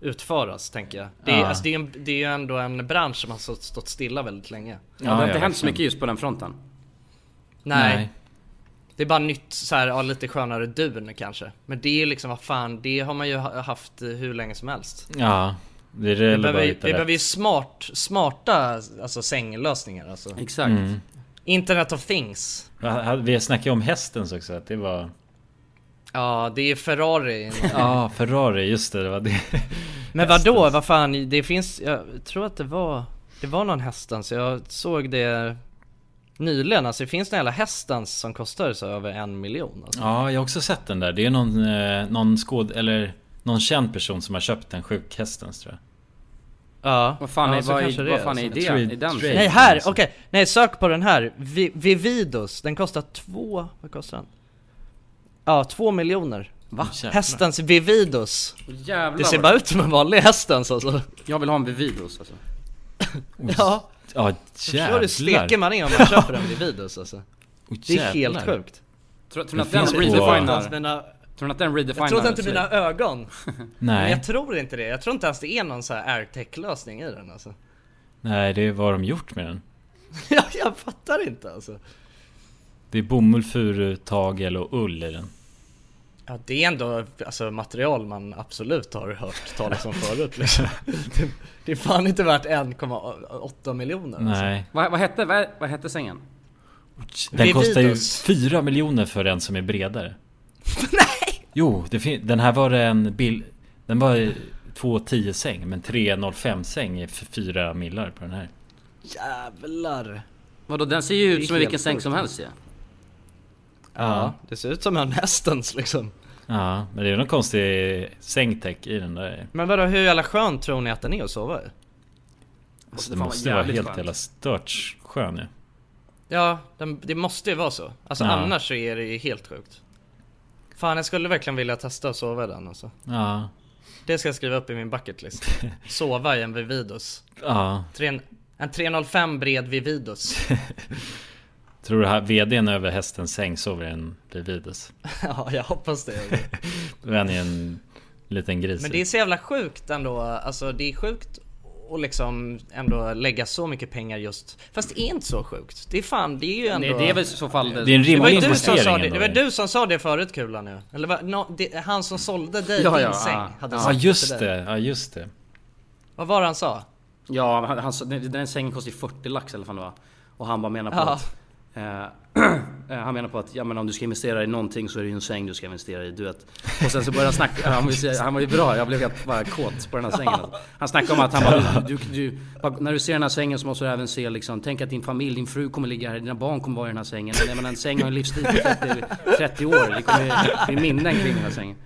Speaker 2: utföras, tänker jag. Det är,
Speaker 1: Ja.
Speaker 2: alltså, det är, en, det är ju ändå en bransch som har stått, stått stilla väldigt länge.
Speaker 1: Ja, det har inte hänt så mycket just på den fronten.
Speaker 2: Nej.
Speaker 1: Nej.
Speaker 2: Det är bara nytt så här, ja, lite skönare dun kanske. Men det är liksom, vad fan, det har man ju ha- haft eh, hur länge som helst.
Speaker 3: Ja, det är
Speaker 2: Vi
Speaker 3: väl bara
Speaker 2: behöver,
Speaker 3: att
Speaker 2: ju-
Speaker 3: hitta
Speaker 2: vi
Speaker 3: rätt.
Speaker 2: behöver ju smart, smarta alltså, sänglösningar alltså.
Speaker 1: Exakt.
Speaker 3: Mm.
Speaker 2: Internet of things.
Speaker 3: Ja, Vi snackade om hästens också, att det var...
Speaker 2: Ja, det är Ferrari.
Speaker 3: Ja, <laughs> Ferrari, just det, det var det.
Speaker 2: Men vad då? vad fan, det finns, jag tror att det var, det var någon hästans, jag såg det nyligen, alltså det finns några jävla hästans som kostar så över en miljon alltså.
Speaker 3: Ja, jag har också sett den där. Det är någon, eh, någon skåd... Eller någon känd person som har köpt den sjukhästens tror jag.
Speaker 2: Ja,
Speaker 1: Vad fan
Speaker 2: ja,
Speaker 1: är-
Speaker 2: så
Speaker 1: vad är-
Speaker 2: kanske det
Speaker 1: vad fan är
Speaker 2: alltså.
Speaker 1: idén i den? Trade,
Speaker 2: Nej här,
Speaker 1: alltså.
Speaker 2: okej, nej sök på den här, Vi, Vividos, den kostar två, vad kostar den? Ja, två miljoner
Speaker 3: Oh,
Speaker 1: Va?
Speaker 2: Hästens Vividos
Speaker 1: Jävlar
Speaker 2: Det ser
Speaker 1: vad-
Speaker 2: bara ut som en vanlig hästens alltså
Speaker 1: Jag vill ha en Vividos alltså.
Speaker 2: <laughs> Ja,
Speaker 3: Ja,
Speaker 2: Förstår du hur steker man är om man köper en Vividos alltså?
Speaker 3: Oh,
Speaker 2: det är helt sjukt
Speaker 1: Tror, tror,
Speaker 3: Det
Speaker 1: ni att den
Speaker 3: finns på-
Speaker 1: redefinar,
Speaker 2: Mina-
Speaker 1: tror ni att den redefinar?
Speaker 2: Jag trodde inte
Speaker 1: sleep?
Speaker 2: mina ögon.
Speaker 3: Nej.
Speaker 2: Men jag tror inte det. Jag tror inte ens det är någon så här airtech lösning i den <laughs> alltså.
Speaker 3: Nej, det är vad de gjort med den.
Speaker 2: jag, jag fattar inte alltså.
Speaker 3: Det är bomull, furu, tagel och ull i den.
Speaker 2: Ja det är ändå alltså, material man absolut har hört talas om förut liksom. <laughs> det, det är fan inte värt 1,8 miljoner
Speaker 3: Nej.
Speaker 1: Vad, vad, hette, vad, vad hette sängen?
Speaker 3: Den kostar ju
Speaker 2: Vividos.
Speaker 3: 4 miljoner för den som är bredare. Nej! Jo, det fin- den här var en bil... Den var 2,10 säng, men 3,05 säng är 4 millar på den här.
Speaker 2: alltså. Jävlar.
Speaker 1: Vadå den ser ju
Speaker 2: Det är
Speaker 1: ut som
Speaker 2: helt
Speaker 1: vilken säng
Speaker 2: sjukt.
Speaker 1: som helst ju.
Speaker 2: Ja, det ser ut som en hästens liksom.
Speaker 3: Ja, men det är någon konstig sängtäck i den där.
Speaker 2: Men vadå hur jävla skönt tror ni att den är att sova i?
Speaker 3: Alltså, det måste ju vara helt jävla stört skön ju.
Speaker 2: Ja, den, det måste ju vara så. Alltså
Speaker 3: Ja.
Speaker 2: annars så är det ju helt sjukt. Fan jag skulle verkligen vilja testa att sova i den alltså.
Speaker 3: Ja.
Speaker 2: Det ska jag skriva upp i min bucket <laughs> list. Sova i en Vividos.
Speaker 3: Ja.
Speaker 2: Tre, en 305 bred Vividos.
Speaker 3: Tror du här vdn över hästens säng sover i en Levides?
Speaker 2: ja, jag hoppas det.
Speaker 3: Den är en liten gris.
Speaker 2: Men det är så jävla sjukt ändå. Alltså det är sjukt att liksom ändå lägga så mycket pengar just. Fast det är inte så sjukt. Det är fan, det är ju ändå...
Speaker 1: Nej, det är väl i så fall...
Speaker 3: Det är en rimlig
Speaker 2: var ju du som
Speaker 3: investering
Speaker 2: sa det,
Speaker 3: ändå,
Speaker 2: det var
Speaker 3: ju.
Speaker 2: du som sa det förut Kulan nu. Eller va, nå- det, han som sålde dig
Speaker 1: Ja,
Speaker 2: din
Speaker 1: ja,
Speaker 2: säng
Speaker 1: ja.
Speaker 2: hade
Speaker 1: Ja,
Speaker 3: Ja
Speaker 2: sagt till
Speaker 3: just
Speaker 2: dig.
Speaker 3: det, ja just det.
Speaker 2: Vad var det han sa?
Speaker 1: Ja, han, han, sa- den, den sängen kostar ju 40 lax eller vad fan det var. Och han bara menar på
Speaker 2: Ja.
Speaker 1: att Eh, <clears throat> han menar på att ja, men om du ska investera i någonting så är det ju en säng du ska investera i. Du vet. Och sen så började han snacka, han, vill säga- han var ju bra, jag blev helt bara kåt på den här sängen. Han snackade om att han bara, du, du, du, bara, när du ser den här sängen så måste du även se liksom, tänk att din familj, din fru kommer ligga här, dina barn kommer vara i den här sängen. Jag menar en säng har en livstid på 30, 30 år, det kommer ju bli minnen kring den här sängen.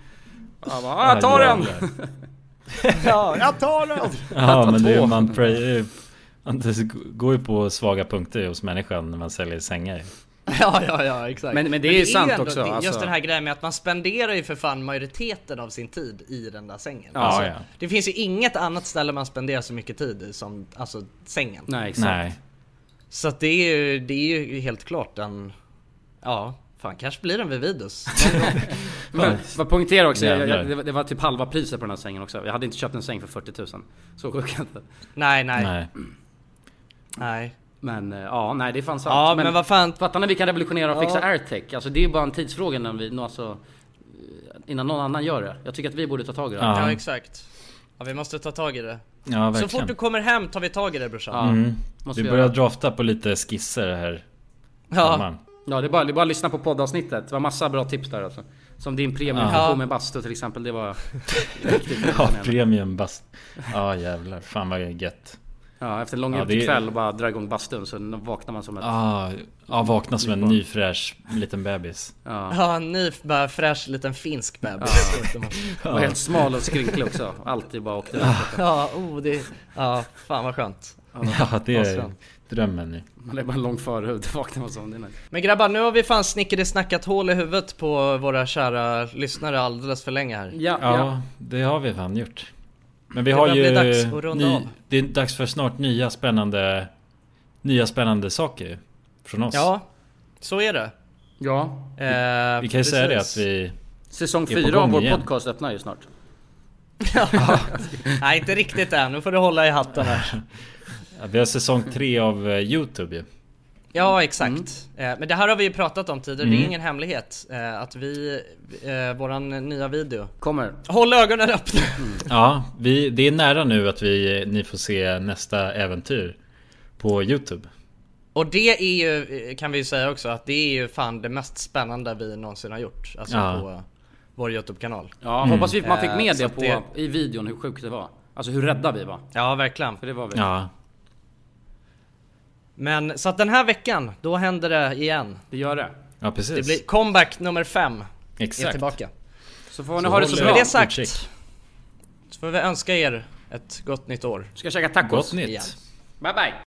Speaker 1: Jag bara, ah, jag tar den! ja, jag tar den!
Speaker 3: Ja men det är ju man pray, man går ju på svaga punkter hos människan när man säljer sängar.
Speaker 2: Ja, ja, ja, exakt.
Speaker 1: Men- men det är ju sant
Speaker 2: ju ändå-
Speaker 1: också,
Speaker 2: det- Just
Speaker 1: alltså.
Speaker 2: den här grejen med att man spenderar ju för fan majoriteten av sin tid i den där sängen.
Speaker 3: Ja,
Speaker 2: alltså,
Speaker 3: ja.
Speaker 2: Det finns ju inget annat ställe man spenderar så mycket tid i som alltså, sängen.
Speaker 1: Nej, exakt.
Speaker 3: Nej.
Speaker 2: Så att det, är ju, det är ju helt klart en... Ja, fan kanske blir den
Speaker 1: <laughs>
Speaker 2: vid Vidus.
Speaker 1: Men vad poängterar också, jag,
Speaker 3: Jävlar.
Speaker 1: jag, det, var, det var typ halva priset på den här sängen också. Jag hade inte köpt en säng för 40 000. Så sjuk är jag inte.
Speaker 2: nej, nej, nej.
Speaker 3: Nej.
Speaker 1: Men eh, ja, nej det fanns
Speaker 2: Ja, men vad fan-
Speaker 1: Fattar ni vi kan revolutionera och fixa
Speaker 2: Ja.
Speaker 1: airtech? Alltså det är ju bara en tidsfråga när vi, nå- alltså, innan någon annan gör det. Jag tycker att vi borde ta tag i det.
Speaker 3: Ja.
Speaker 2: Ja, exakt. Ja, vi måste ta tag i det.
Speaker 3: Ja
Speaker 2: så
Speaker 3: verkligen.
Speaker 2: fort du kommer hem tar vi tag i det brorsan.
Speaker 1: Ja,
Speaker 3: Mm.
Speaker 1: måste
Speaker 3: Du
Speaker 1: vi
Speaker 3: börjar
Speaker 1: göra.
Speaker 3: drafta på lite skisser här.
Speaker 2: Ja,
Speaker 3: Man.
Speaker 1: Ja, det är, bara, det är bara att lyssna på poddavsnittet. Det var massa bra tips där alltså. Som din premiumfunktion
Speaker 2: Ja.
Speaker 1: med bastu till exempel. Det
Speaker 3: <laughs>
Speaker 1: var riktigt
Speaker 3: Ja,
Speaker 1: imponerande.
Speaker 3: premium bast. Ja jävlar, fan vad gött.
Speaker 1: Ja, efter en lång
Speaker 3: Ja, det är-
Speaker 1: kväll och bara dra igång bastun så vaknar man som ett...
Speaker 3: Ja, ja vakna som en
Speaker 1: Nybarn.
Speaker 3: ny fräsch liten bebis.
Speaker 1: Ja.
Speaker 2: ja en ny f- bara fräsch liten finsk bebis.
Speaker 1: Och helt smal och skrynklig också. Alltid bara
Speaker 3: <laughs>
Speaker 1: åkte iväg.
Speaker 2: <laughs> Ja, oh, det... Ja, fan vad skönt.
Speaker 3: Ja det
Speaker 2: vad
Speaker 3: är
Speaker 2: skönt.
Speaker 3: drömmen nu.
Speaker 1: <laughs> Man är bara en lång förhud. Vaknar man som. Det är nice.
Speaker 2: Men grabbar, nu har vi fan snickersnackat hål i huvudet på våra kära lyssnare alldeles för länge här.
Speaker 1: Ja,
Speaker 3: Ja,
Speaker 1: ja.
Speaker 3: det har vi fan gjort. Men vi
Speaker 2: Det
Speaker 3: har
Speaker 2: börjar
Speaker 3: ju...
Speaker 2: bli dags att runda av.
Speaker 3: det är dags för snart nya spännande... Nya spännande saker från oss.
Speaker 2: Ja, så är det.
Speaker 1: ja.
Speaker 2: Eh,
Speaker 3: vi kan ju säga det att
Speaker 2: precis.
Speaker 3: vi...
Speaker 1: Säsong
Speaker 3: Är på
Speaker 1: 4 av
Speaker 3: gång
Speaker 1: vår
Speaker 3: igen.
Speaker 1: podcast öppnar ju snart.
Speaker 2: Nej, inte riktigt än. Nu får du hålla i
Speaker 3: <laughs>
Speaker 2: hatten här.
Speaker 3: Mm. att Vi har säsong tre av eh, Youtube ju.
Speaker 2: Ja, exakt. Eh, men det här har vi ju pratat om tidigare.
Speaker 3: Mm.
Speaker 2: Det är ingen hemlighet eh, att vi... Eh, våran nya video.
Speaker 1: Kommer.
Speaker 2: Håll ögonen öppna!
Speaker 3: Ja, vi, det är nära nu att vi, ni får se nästa äventyr på Youtube.
Speaker 2: Och det är ju, eh, kan vi ju säga också, att det är ju fan det mest spännande vi någonsin har gjort. Alltså
Speaker 3: Ja.
Speaker 2: på eh, vår YouTube-kanal.
Speaker 1: Ja,
Speaker 3: Mm.
Speaker 1: hoppas vi, man fick med
Speaker 2: Eh, så
Speaker 1: det
Speaker 2: att
Speaker 1: på
Speaker 2: det-
Speaker 1: i videon hur sjukt det var. Alltså hur rädda vi var.
Speaker 2: Ja, verkligen.
Speaker 1: För det var vi.
Speaker 3: Ja,
Speaker 2: Men så att den här veckan, då händer det igen.
Speaker 1: Vi gör det.
Speaker 3: ja precis.
Speaker 2: Det blir comeback nummer fem. Är
Speaker 3: Exakt.
Speaker 2: tillbaka.
Speaker 1: Så får ni ha det så
Speaker 3: håller
Speaker 1: bra.
Speaker 2: Med det sagt
Speaker 3: utkik.
Speaker 2: så får vi önska er ett gott nytt år.
Speaker 1: Ska jag käka tacos?
Speaker 3: Gott nytt.
Speaker 2: Igen.
Speaker 1: Bye bye.